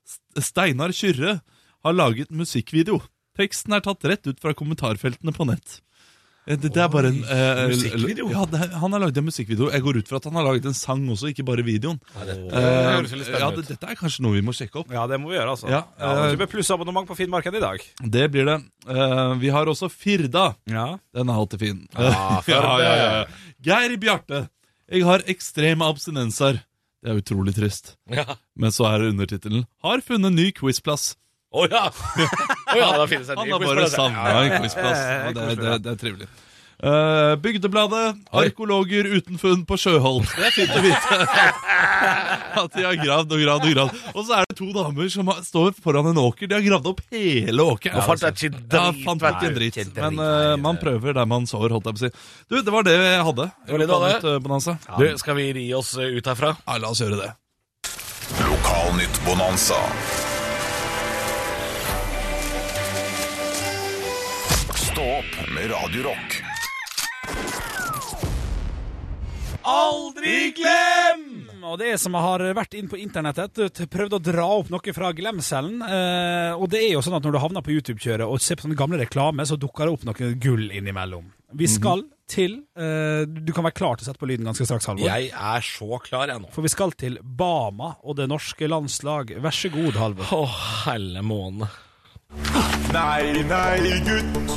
[SPEAKER 5] S- Steinar Kyrre har laget musikkvideo. Teksten er tatt rett ut fra kommentarfeltene på nett. Eh, Det, det er bare en eh,
[SPEAKER 3] musikkvideo?
[SPEAKER 5] Ja, det, er- han har laget en musikkvideo. Jeg går ut fra at han har laget en sang også, ikke bare videoen. Eh,
[SPEAKER 3] høres veldig spennende
[SPEAKER 5] ja,
[SPEAKER 3] ut.
[SPEAKER 5] det, dette er kanskje noe vi må sjekke opp.
[SPEAKER 4] Ja, det må vi gjøre, altså.
[SPEAKER 5] Ja,
[SPEAKER 4] ja,
[SPEAKER 5] eh,
[SPEAKER 4] det blir plussabonnement på Finnmarken i dag.
[SPEAKER 5] Det blir det. Eh, vi har også Firda.
[SPEAKER 4] Ja.
[SPEAKER 5] Den er alltid fin. ja, ja, ja, ja. Geir Bjarte. Jeg har ekstreme abstinenser. Det er utrolig trist.
[SPEAKER 3] ja.
[SPEAKER 5] Men så er undertittelen 'Har funnet ny quizplass'.
[SPEAKER 3] Å ja! Å ja, da finnes det en
[SPEAKER 5] Han
[SPEAKER 3] ny
[SPEAKER 5] har
[SPEAKER 3] quiz på
[SPEAKER 5] bare
[SPEAKER 3] det.
[SPEAKER 5] savna en quizplass. Ja, det, er- det, er- det er trivelig. Eh, Bygdebladet. Arkeologer uten funn på Sjøholt. Det er fint å vite. At de har gravd og gravd og gravd. Og så er det to damer som har, står foran en åker. De har gravd opp hele åkeren.
[SPEAKER 3] Og fant ikke en
[SPEAKER 5] Ja,
[SPEAKER 3] drit,
[SPEAKER 5] fant
[SPEAKER 3] vet
[SPEAKER 5] ikke en
[SPEAKER 3] du.
[SPEAKER 5] dritt.
[SPEAKER 3] Ikke en drit,
[SPEAKER 5] Men eh, man prøver der man sår, holdt jeg på å si. Du, det var det jeg hadde.
[SPEAKER 3] var det du hadde.
[SPEAKER 5] Planet, eh, Bonanza.
[SPEAKER 3] Du, skal vi ri oss eh, ut herfra?
[SPEAKER 5] Ja, la oss gjøre det.
[SPEAKER 1] Lokalnytt Bonanza. Stå opp med Radio Rock.
[SPEAKER 4] Aldri glem! Og det er som jeg har vært inn på internettet, t- prøvd å dra opp noe fra glemselen. eh, Og det er jo sånn at når du havner på YouTube-kjøret og ser på sånne gamle reklame, så dukker det opp noe gull innimellom. Vi
[SPEAKER 3] Mhm.
[SPEAKER 4] skal til eh, Du kan være klar til å sette på lyden ganske straks, Halvor.
[SPEAKER 3] Jeg er så klar, jeg nå.
[SPEAKER 4] For vi skal til Bama og det norske landslag. Vær så god, Halvor.
[SPEAKER 3] Å, helle måne.
[SPEAKER 6] Nei, nei, gutt.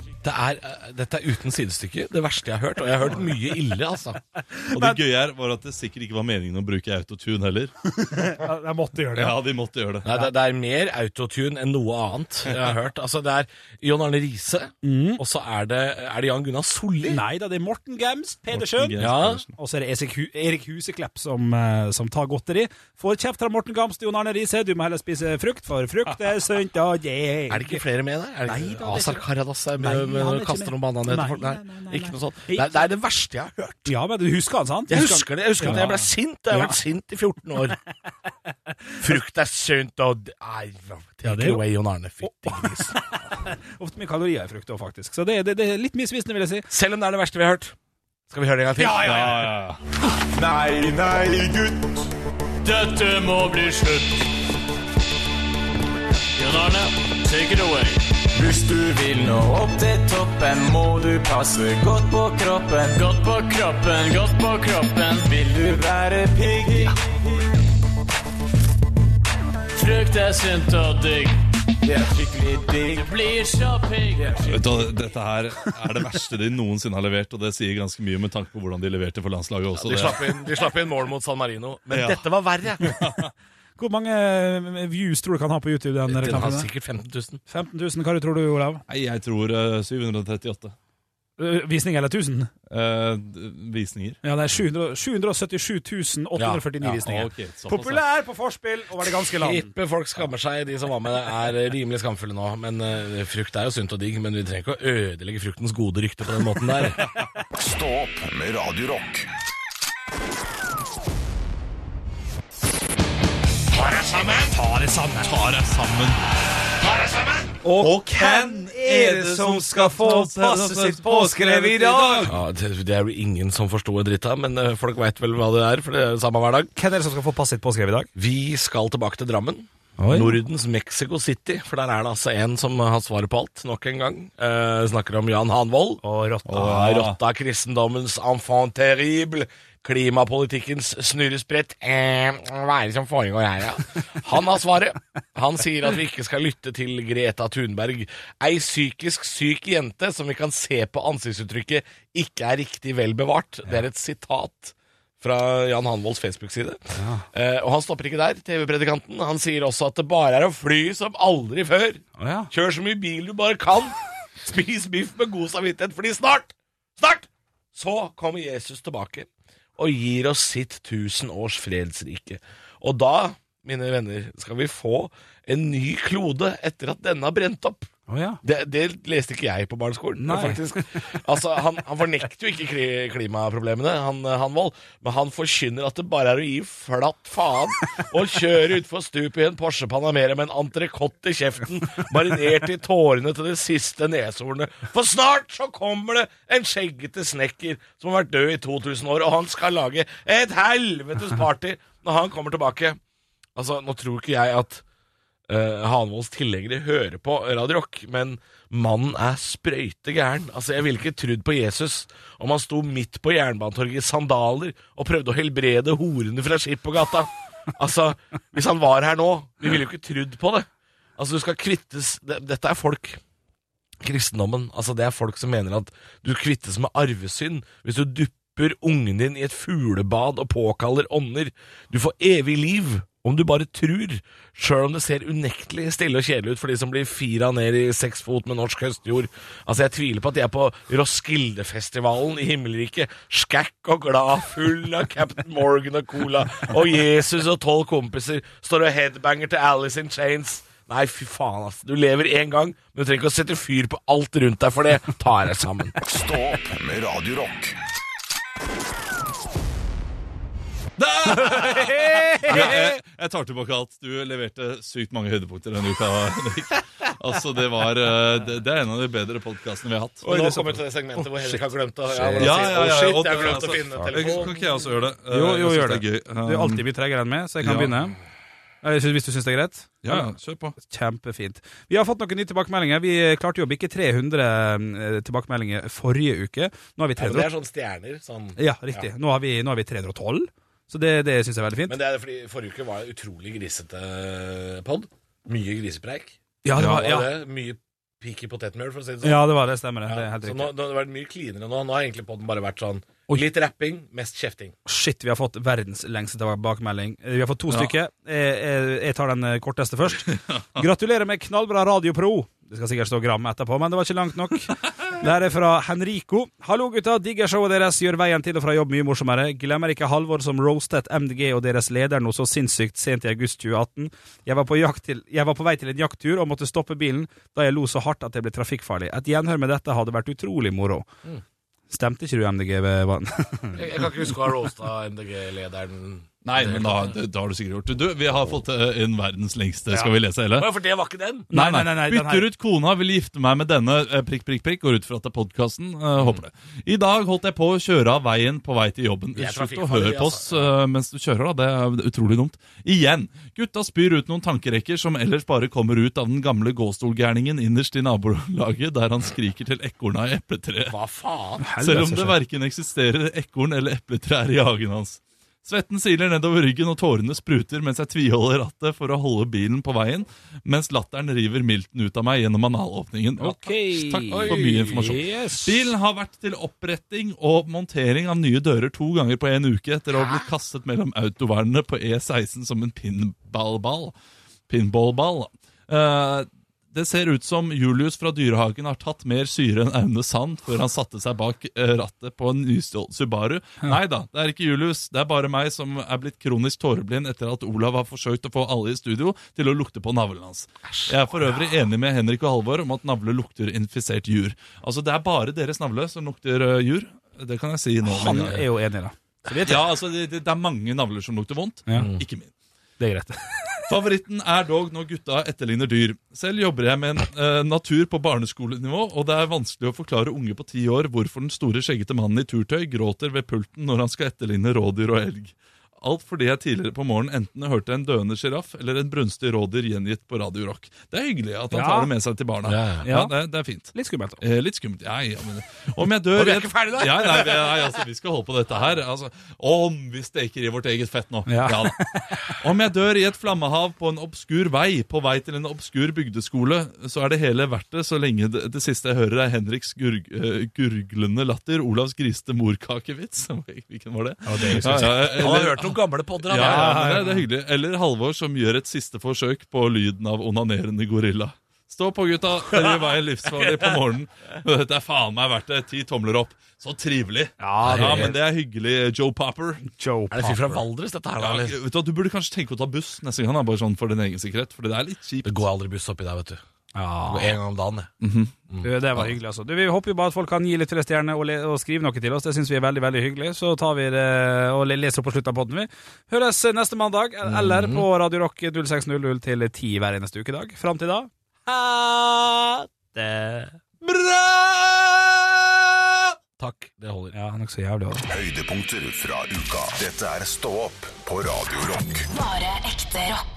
[SPEAKER 3] Det er, eh, dette er uten sidestykke det verste jeg har hørt, og jeg har hørt mye ille, altså.
[SPEAKER 5] Og det gøye her var at det sikkert ikke var meningen å bruke autotune heller.
[SPEAKER 4] Jeg måtte gjøre
[SPEAKER 5] Ja, de måtte gjøre det.
[SPEAKER 3] Nei, det, det er mer autotune enn noe annet jeg har hørt. Altså, det er John Arne Riise, og så er det, er det Jan Gunnar Solli.
[SPEAKER 4] Nei da, det er Morten Gamst Pedersen.
[SPEAKER 5] Morten Gamst
[SPEAKER 3] Ja.
[SPEAKER 5] Pedersen.
[SPEAKER 4] Og så er det Esik Hu- Erik Huseklepp som, eh, som tar godteri. Får kjeft fra Morten Gamst og Jon Arne Riise. Du må heller spise frukt, for frukt er sunt. og det
[SPEAKER 3] Er det ikke flere med der? Er det
[SPEAKER 4] Nei,
[SPEAKER 3] ikke
[SPEAKER 4] da, det er
[SPEAKER 3] Azar
[SPEAKER 4] ikke-
[SPEAKER 3] Karadas er
[SPEAKER 4] Nei,
[SPEAKER 3] med, med
[SPEAKER 4] han er
[SPEAKER 3] og
[SPEAKER 4] ikke
[SPEAKER 3] kaster
[SPEAKER 4] med.
[SPEAKER 3] noen bananer
[SPEAKER 4] Nei,
[SPEAKER 3] etter folk? Nei,
[SPEAKER 4] nei, nei, nei,
[SPEAKER 3] ikke noe sånt.
[SPEAKER 4] Ikke
[SPEAKER 3] Det er, det er det verste jeg har hørt.
[SPEAKER 4] Ja, men du husker han, sant?
[SPEAKER 3] Jeg husker det. Jeg husker at
[SPEAKER 4] Ja.
[SPEAKER 3] jeg ble sint. Jeg har
[SPEAKER 4] Ja.
[SPEAKER 3] vært sint i 14 år. Frukt er sunt og Nei,
[SPEAKER 4] Ja,
[SPEAKER 3] take
[SPEAKER 4] det er
[SPEAKER 3] it
[SPEAKER 4] jo-
[SPEAKER 3] away, Jon Arne. Fytti gris.
[SPEAKER 4] Ofte mye kalorier i frukt òg, faktisk. Så det, det, det er litt misvisende, vil jeg si.
[SPEAKER 3] Selv om det er det verste vi har hørt. Skal vi høre det en gang til?
[SPEAKER 5] Ja, ja, ja.
[SPEAKER 1] Nei, nei, gutt.
[SPEAKER 7] Dette må bli slutt. Jon Arne, take it away.
[SPEAKER 6] Hvis du vil nå opp til toppen, må du passe godt på kroppen.
[SPEAKER 7] Godt på kroppen, godt på kroppen.
[SPEAKER 6] Vil du være pigg?
[SPEAKER 7] Frukt er sunt og digg.
[SPEAKER 6] Det er skikkelig digg.
[SPEAKER 7] Blir så pigg.
[SPEAKER 5] Vet du, hva, dette her er det verste de noensinne har levert, og det sier ganske mye med tanke på hvordan de leverte for landslaget også.
[SPEAKER 3] De
[SPEAKER 5] det-
[SPEAKER 3] slapp, inn, de slapp inn mål mot San Marino, men
[SPEAKER 5] Ja.
[SPEAKER 3] dette var verre.
[SPEAKER 4] Hvor mange eh, views tror du kan ha på YouTube? den
[SPEAKER 3] Den har
[SPEAKER 4] reklamen?
[SPEAKER 3] sikkert 15 000.
[SPEAKER 4] 15 000, hva tror du, Olav?
[SPEAKER 5] Nei, jeg tror eh, 738
[SPEAKER 4] Eh, Visning eller 1000?
[SPEAKER 5] eh, d- visninger.
[SPEAKER 4] Ja, det er 700, 777 849
[SPEAKER 3] Ja, ja,
[SPEAKER 4] visninger.
[SPEAKER 5] ok, såpass, ja.
[SPEAKER 4] Populær på forspill over det ganske land.
[SPEAKER 3] Tipper folk skammer seg, de som var med, er eh, rimelig skamfulle nå. Men eh, frukt er jo sunt og digg, men vi trenger ikke å ødelegge fruktens gode rykte på den måten der.
[SPEAKER 1] Stå opp med Radio Rock.
[SPEAKER 5] Tar deg sammen.
[SPEAKER 4] Og
[SPEAKER 5] hvem er det som skal få passet sitt påskrevet i dag?
[SPEAKER 3] Ja, det, det er jo ingen som forsto en dritt av, men eh, folk veit vel hva det er, for det er det samme hver dag.
[SPEAKER 4] Hvem er det som skal få passet sitt påskrevet i dag?
[SPEAKER 3] Vi skal tilbake til Drammen.
[SPEAKER 4] Oi.
[SPEAKER 3] Nordens Mexico City, for der er det altså en som har svaret på alt, nok en gang. Eh, snakker om Jan Hanvold.
[SPEAKER 4] Og rotta.
[SPEAKER 3] Og rotta kristendommens enfant terrible. Klimapolitikkens snurresprett. Eh, hva er det som foregår her, ja? Han har svaret. Han sier at vi ikke skal lytte til Greta Thunberg. Ei psykisk syk jente som vi kan se på ansiktsuttrykket ikke er riktig vel bevart. Det er et sitat fra Jan Hanvolds Facebook-side. Eh, og han stopper ikke der, TV-predikanten. Han sier også at det bare er å fly som aldri før.
[SPEAKER 4] Å ja.
[SPEAKER 3] Kjør så mye bil du bare kan. Spis biff med god samvittighet, fordi snart, snart, så kommer Jesus tilbake og gir oss sitt tusen års fredsrike. Og da, mine venner, skal vi få en ny klode etter at denne har brent opp.
[SPEAKER 4] Å ja.
[SPEAKER 3] Det, det leste ikke jeg på barneskolen,
[SPEAKER 4] Nei.
[SPEAKER 3] faktisk. Altså, han, han fornekter jo ikke kli- klimaproblemene, han, han Vold, men han forkynner at det bare er å gi flatt faen og kjøre utfor stupet i en Porsche Panamera med en entrecôte i kjeften, marinert i tårene til det siste neshornet. For snart så kommer det en skjeggete snekker som har vært død i 2000 år, og han skal lage et helvetes party når han kommer tilbake. Altså, nå tror ikke jeg at uh, Hanvolds tilhengere hører på Radio Rock, men mannen er sprøyte gæren. Altså, jeg ville ikke trodd på Jesus om han sto midt på Jernbanetorget i sandaler og prøvde å helbrede horene fra Skippergata. Altså, hvis han var her nå, vi ville jo ikke trodd på det. Altså, du skal kvittes det- Dette er folk. Kristendommen, altså det er folk som mener at du kvittes med arvesynd hvis du dupper ungen din i et fuglebad og påkaller ånder. Du får evig liv om du bare trur, sjøl om det ser unektelig stille og kjedelig ut for de som blir fira ned i seks fot med norsk høstjord. Altså, jeg tviler på at de er på Roskildefestivalen i himmelriket, skækk og glad, full av Captain Morgan og cola, og Jesus og tolv kompiser står og headbanger til Alice in Chains. Nei, fy faen, ass. Du lever én gang, men du trenger ikke å sette fyr på alt rundt deg for det. Ta deg sammen.
[SPEAKER 1] Stå opp med Radio Rock.
[SPEAKER 5] Jeg, jeg, jeg tar tilbake alt. Du leverte sykt mange høydepunkter denne uka. Henrik. altså, det, var, eh, det, det er en av de bedre podkastene vi har hatt.
[SPEAKER 3] nå kommer vi til det segmentet hvor Henrik har glemt å ja, hvor han
[SPEAKER 5] Ja,
[SPEAKER 3] sier,
[SPEAKER 5] ja,
[SPEAKER 3] «Å,
[SPEAKER 5] ja,
[SPEAKER 3] shit,
[SPEAKER 5] og-
[SPEAKER 3] jeg har glemt å
[SPEAKER 5] altså,
[SPEAKER 3] finne
[SPEAKER 5] Jeg- Kan
[SPEAKER 3] telefonen.
[SPEAKER 5] ikke jeg også gjøre det? Eh,
[SPEAKER 4] Jo,
[SPEAKER 5] jeg
[SPEAKER 4] jo,
[SPEAKER 5] synes
[SPEAKER 4] gjør det.
[SPEAKER 5] er gøy. Um,
[SPEAKER 4] Du er alltid mye tregere enn meg, så jeg kan
[SPEAKER 5] Ja.
[SPEAKER 4] begynne. Eller, sy- Hvis du syns det er greit?
[SPEAKER 5] Ja, ja, kjør på.
[SPEAKER 4] Kjempefint. Vi har fått noen nye tilbakemeldinger. Vi klarte jo å bikke 300 eh, tilbakemeldinger forrige uke. Nå har vi
[SPEAKER 3] Det
[SPEAKER 4] 300.
[SPEAKER 3] er sånn stjerner. Sånn.
[SPEAKER 4] Ja, riktig. Nå har vi, nå har vi 312, så det, det syns jeg er veldig fint.
[SPEAKER 3] Men det er fordi forrige uke var det utrolig grisete pod. Mye grisepreik.
[SPEAKER 4] Ja, det var,
[SPEAKER 3] Og
[SPEAKER 4] ja.
[SPEAKER 3] det, mye pikk i potetmel, for å si det sånn.
[SPEAKER 4] ja, det var det. Stemmer det. det er
[SPEAKER 3] Ja,
[SPEAKER 4] helt
[SPEAKER 3] så
[SPEAKER 4] riktig.
[SPEAKER 3] nå, nå har det vært mye cleanere nå. Nå har egentlig poden bare vært sånn
[SPEAKER 4] Oi.
[SPEAKER 3] litt rapping, mest kjefting.
[SPEAKER 4] Shit, vi har fått verdens lengste tilbakemelding. Eh, Vi har fått to
[SPEAKER 5] Ja.
[SPEAKER 4] stykker. Jeg, jeg, jeg tar den eh, korteste først. Gratulerer med knallbra Radio Pro. Det skal sikkert stå gram etterpå, men det var ikke langt nok. Det her er fra Henrico. Hallo, gutta. Digger showet deres. Gjør veien til og fra jobb mye morsommere. Glemmer ikke Halvor som roastet MDG og deres leder noe så sinnssykt sent i august 2018. Jeg var, på jakt til, jeg var på vei til en jakttur og måtte stoppe bilen da jeg lo så hardt at jeg ble trafikkfarlig. Et gjenhør med dette hadde vært utrolig moro. Stemte ikke du MDG ved vann?
[SPEAKER 3] Jeg, jeg kan ikke huske å ha roasta MDG-lederen
[SPEAKER 5] Nei, men da, det, da har du sikkert gjort det. Du, vi har fått eh, en verdens lengste. Skal vi lese hele?
[SPEAKER 3] Å ja, for det var ikke den.
[SPEAKER 5] Nei, nei,
[SPEAKER 4] Nei, nei, nei, den her-
[SPEAKER 5] Bytter ut kona, vil gifte meg med denne eh, Prikk, prikk, prikk, går ut fra at det er podkasten. håper det. I dag holdt jeg på å kjøre av veien på vei til jobben.
[SPEAKER 3] Jeg er
[SPEAKER 5] Slutt å
[SPEAKER 3] trafikkfarlig,
[SPEAKER 5] høre på oss eh, mens du kjører, da. Det er utrolig dumt. Igjen. Gutta spyr ut noen tankerekker som ellers bare kommer ut av den gamle gåstolgærningen innerst i nabolaget, der han skriker til ekorna i epletreet.
[SPEAKER 3] Hva faen?
[SPEAKER 5] Selv om det verken eksisterer ekorn eller epletrær i hagen hans. Svetten siler nedover ryggen, og tårene spruter mens jeg tviholder rattet for å holde bilen på veien, mens latteren river milten ut av meg gjennom analåpningen. Ja, Takk, takk for mye informasjon.
[SPEAKER 4] Yes.
[SPEAKER 5] Bilen har vært til oppretting og montering av nye dører to ganger på en uke etter å ha blitt kastet mellom autovernene på E16 som en pinballball. Pinballball. Eh, det ser ut som Julius fra dyrehagen har tatt mer syre enn Aune Sand før han satte seg bak eh, rattet på en nystjålet Subaru. Nei da, det er ikke Julius. Det er bare meg som er blitt kronisk tåreblind etter at Olav har forsøkt å få alle i studio til å lukte på navlen hans. Jeg er for øvrig enig med Henrik og Halvor om at navle lukter infisert jur. Altså, det er bare deres navle som lukter eh, jur. Det kan jeg si nå. med en
[SPEAKER 4] Han
[SPEAKER 5] gang.
[SPEAKER 4] er jo enig, da.
[SPEAKER 5] ja, altså, det, det, det er mange navler som lukter vondt.
[SPEAKER 4] Ja.
[SPEAKER 5] Ikke min.
[SPEAKER 4] Det er greit.
[SPEAKER 5] Favoritten er dog når gutta etterligner dyr. Selv jobber jeg med en, eh, natur på barneskolenivå, og det er vanskelig å forklare unge på ti år hvorfor den store skjeggete mannen i turtøy gråter ved pulten når han skal etterligne rådyr og elg. Alt fordi jeg tidligere på morgenen enten hørte en døende sjiraff eller en brunstig rådyr gjengitt på Radio Rock. Det er hyggelig at han
[SPEAKER 4] Ja.
[SPEAKER 5] tar det med seg til barna. Ja,
[SPEAKER 3] Ja,
[SPEAKER 4] ja.
[SPEAKER 5] det, det er fint.
[SPEAKER 4] Litt skummelt. da.
[SPEAKER 5] Eh, litt skummelt. Ja, ja, men, om jeg dør
[SPEAKER 3] Og vi er ikke ferdig der.
[SPEAKER 5] Ja, nei, vi, nei, altså, vi skal holde på dette her. Altså, om vi steker i vårt eget fett nå.
[SPEAKER 4] Ja.
[SPEAKER 5] da. Om jeg dør i et flammehav på en obskur vei, på vei til en obskur bygdeskole, så er det hele verdt det så lenge det, det siste jeg hører, er Henriks gurg, eh, gurglende latter, Olavs griste morkakevits. Hvilken var det? Ja, det ja,
[SPEAKER 3] Han har
[SPEAKER 5] eller-
[SPEAKER 3] hørt noen gamle podder.
[SPEAKER 5] ja,
[SPEAKER 3] han,
[SPEAKER 5] ja,
[SPEAKER 3] ja.
[SPEAKER 5] men det, det er hyggelig. Eller Halvor som gjør et siste forsøk på lyden av onanerende gorilla. Stå på, gutta. Dere gjør veien livsfarlig på morgenen. Dette er faen meg verdt det. Ti tomler opp. Så trivelig.
[SPEAKER 4] Ja, det er-
[SPEAKER 5] men det er hyggelig, eh, Joe Popper.
[SPEAKER 4] Joe
[SPEAKER 3] Er det fyr fra
[SPEAKER 4] Parker.
[SPEAKER 3] Valdres, dette her?
[SPEAKER 5] Ja,
[SPEAKER 3] da, eller?
[SPEAKER 5] vet du, hva, du burde kanskje tenke å ta buss neste gang, da, bare sånn for din egen sikkerhet. For det er litt kjipt.
[SPEAKER 3] Det går aldri buss oppi der, vet du. Det går
[SPEAKER 4] Ja.
[SPEAKER 3] En gang om dagen. jeg.
[SPEAKER 4] Du, Det var hyggelig, altså. Du, vi håper jo bare at folk kan gi litt flere stjerner og, le og skrive noe til oss. Det syns vi er veldig veldig hyggelig. Så tar vi det og le leser opp på slutten av podden vi. Høres neste mandag eller
[SPEAKER 3] Mhm.
[SPEAKER 4] på Radio Rock 0600 til 10 hver eneste ukedag. Fram til da ha det.
[SPEAKER 5] Bra!
[SPEAKER 3] Takk, det holder.
[SPEAKER 4] Ja, han er ikke så jævlig. altså.
[SPEAKER 1] Høydepunkter fra uka. Dette er Stå opp på Radio Rock.
[SPEAKER 2] Bare ekte rock.